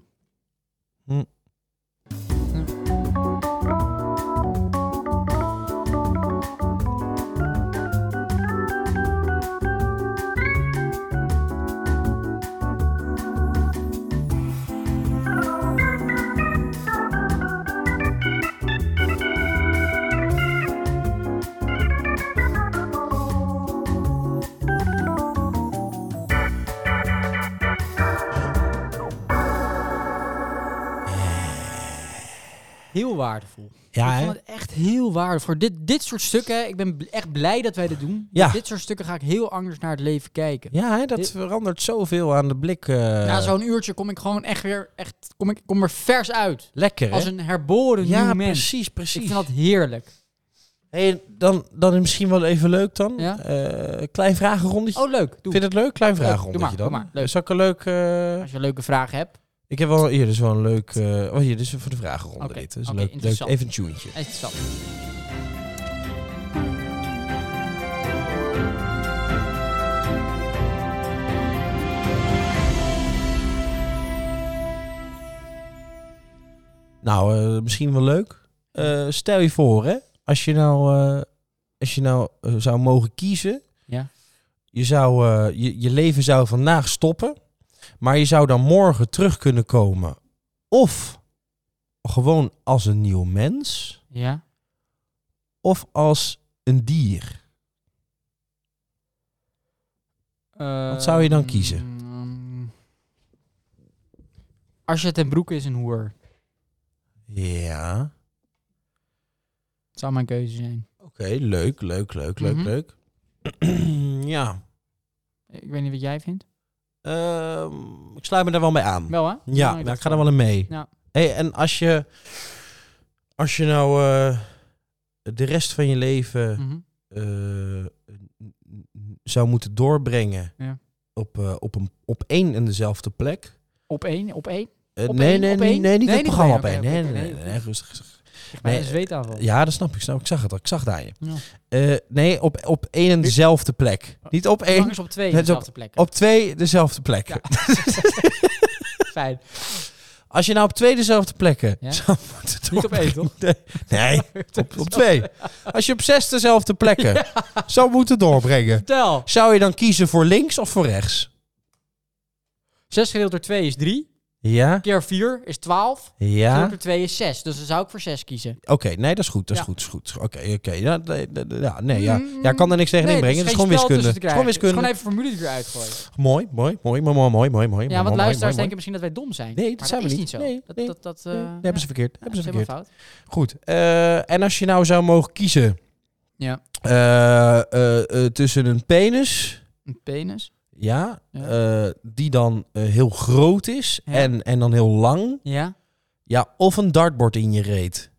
Heel waardevol. Ja, ik hè? vond het echt heel waardevol. Dit, dit soort stukken, ik ben bl- echt blij dat wij dit doen. Ja. Dit soort stukken ga ik heel anders naar het leven kijken. Ja, hè, dat Dit- verandert zoveel aan de blik. eh, Na zo'n uurtje kom ik gewoon echt weer, echt, kom ik kom er vers uit. lekker, hè? Als een herboren ja, nieuw mens. precies, precies. Ik vind dat heerlijk. Hey, dan, dan is misschien wel even leuk dan. Ja. Eh, klein vragenrondetje. Oh, leuk. Doe. Vind je het leuk? Klein Leuk, doe vragenrondje maar, dan. doe maar, leuk. Zal ik een leuk... eh, Als je leuke vragen hebt. Ik heb wel... Hier, dit is wel een leuk... eh, Oh, hier, dit is voor de vragenronde Oké, dit. Dus oké, leuk, leuk, interessant. even een tunetje. Echt zo. Nou, eh, misschien wel leuk. Eh, stel je voor, hè. Als je nou, eh, als je nou eh, zou mogen kiezen... Ja. Je, zou, eh, je, je leven zou vandaag stoppen. Maar je zou dan morgen terug kunnen komen. Of gewoon als een nieuw mens. Ja. Of als een dier. Wat zou je dan kiezen? Ehm, Arsje ten Broeke is een hoer. Ja. Dat zou mijn keuze zijn. Oké, leuk, leuk, leuk, leuk, Mhm. leuk. [CLEARS THROAT] ja. Ik weet niet wat jij vindt. Ehm, ik sluit me daar wel mee aan. Wel hè? ja, ik maar dacht ik ga wel. daar wel in mee. Ja. Hey, en als je, als je nou Hm. eh, de rest van je leven Mhm. eh, n- n- zou moeten doorbrengen Ja. op, eh, op, een, op één en dezelfde plek. Op één, op één. Eh, Op nee, één, nee, op nee, één? nee, niet Nee, het niet programma één, op één. oké, Nee, oké, nee, nee, nee, nee, rustig. rustig. Ik ben Nee, eh, een zweetaanval. Ja, dat snap ik, snap ik. Ik zag het al, ik zag het aan je. Ja. Eh, nee, op, op één en dezelfde plek. Niet op Lang één, is op twee Het is dezelfde plek. op twee dezelfde plekken. Fijn. Als je nou op twee dezelfde plekken Ja? [LAUGHS] zou moeten Niet op één, doorbrengen- [LAUGHS] Nee, op, op twee. Als je op zes dezelfde plekken zou moeten doorbrengen, Vertel. zou je dan kiezen voor links of voor rechts? 6 gedeeld door 2 is 3. Ja, Keer 4 is 12. ja. Gedeeld door 2 is 6. Dus dan zou ik voor 6 kiezen. Oké, nee, dat is goed, dat is Ja. goed, is goed. Oké, oké. Ja, nee, nee, nee, ja, nee, ja. Mm, ja, ik kan er niks tegen inbrengen. Het is gewoon wiskunde. Het is gewoon wiskunde. gewoon even formule die eruit gooien. Mooi, mooi, mooi, mooi, mooi, mooi, mooi, mooi. Ja, want mooi, luisteraars mooi, denken misschien dat wij dom zijn. Nee, dat Maar zijn we is niet. zo. Nee, dat, nee, dat, dat, mooi. eh, Nee, dat hebben ze ja, verkeerd. Hebben ze dat is verkeerd. helemaal fout. Goed. eh, en als je nou zou mogen kiezen Ja. eh, eh, eh, tussen een penis, Een penis. ja, Ja. eh, die dan eh, heel groot is Ja. en, en dan heel lang, Ja. ja, of een dartbord in je reet.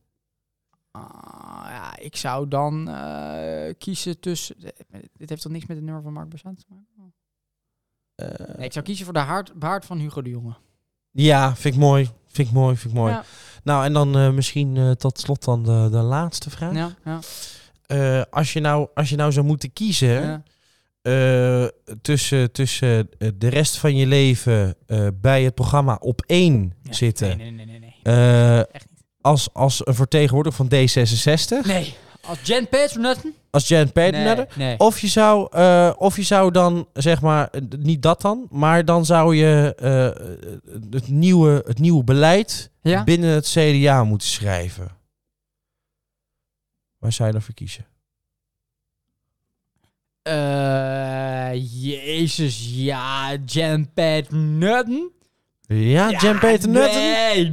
Ah, ja, ik zou dan eh, kiezen tussen... Dit heeft toch niks met de nummer van Mark Bazant te maken? Eh, Nee, ik zou kiezen voor de haard, baard van Hugo de Jonge. Ja, vind ik mooi. Vind ik mooi, vind ik mooi. Ja. Nou, en dan eh, misschien eh, tot slot dan de, de laatste vraag. Ja, ja, Eh, als, je nou, als je nou zou moeten kiezen... ja. eh, tussen, tussen eh, de rest van je leven eh, bij het programma op één Ja. zitten. Nee, nee, nee, nee. nee. Eh, Echt niet. als, als een vertegenwoordiger van D66, Nee. Als Jen Paternotten? als Jan Oh. Paternotte. Nee, nee. Of je, zou, eh, of je zou dan, zeg maar, eh, niet dat dan, maar dan zou je eh, het, nieuwe, het nieuwe beleid Ja? binnen het CDA moeten schrijven. Waar zou je dan voor kiezen? Eh, jezus, ja, Jan Paternotten? Ja, Jan Paternotte? Nee,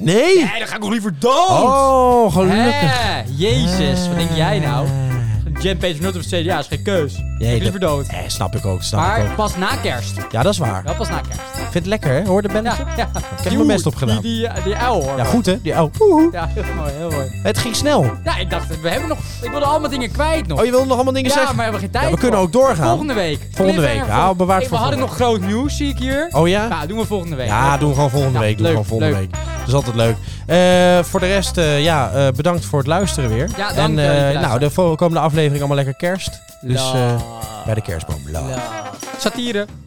Nee? Nee, dan ga ik nog liever dood. Oh, gelukkig. Hè, Jezus, wat denk jij nou? Eh. Jan Paternotten of CDA is geen keus. Nee, ik dat- liever dood. Eh, snap ik ook, snap ik Maar ook. pas na kerst. Ja, dat is waar. Wel pas na kerst. Ik vind het lekker, hè? Hoor de belletje? Ja, ja. Ik heb mijn best opgedaan. Die, die, eh, die uil hoor. Ja, goed, hè? Die, oh, woehoe. Ja, heel mooi, heel mooi. Het ging snel. Oh, Ja, ik dacht, we hebben nog... Ik wilde allemaal dingen kwijt nog. je wilde nog allemaal dingen ja, maar zeggen? we hebben geen tijd Ja, we kunnen voor. ook doorgaan. Volgende week. Volgende week. Cliffhanger. Ja, bewaard Hey, voor We hadden nog volgende groot nieuws, zie ik hier. Oh ja? Ja, doen we volgende week. Ja, doen we gewoon volgende Ja, week. Doen we leuk, gewoon volgende leuk. week. Dat is altijd leuk. Eh, voor de rest, eh, ja, eh, bedankt voor het luisteren weer. Ja, dank, En eh, lieve eh, nou, luisteraar. de volgende- komende aflevering allemaal lekker kerst. Dus eh, Love. bij de kerstboom. Love. Love. Satire.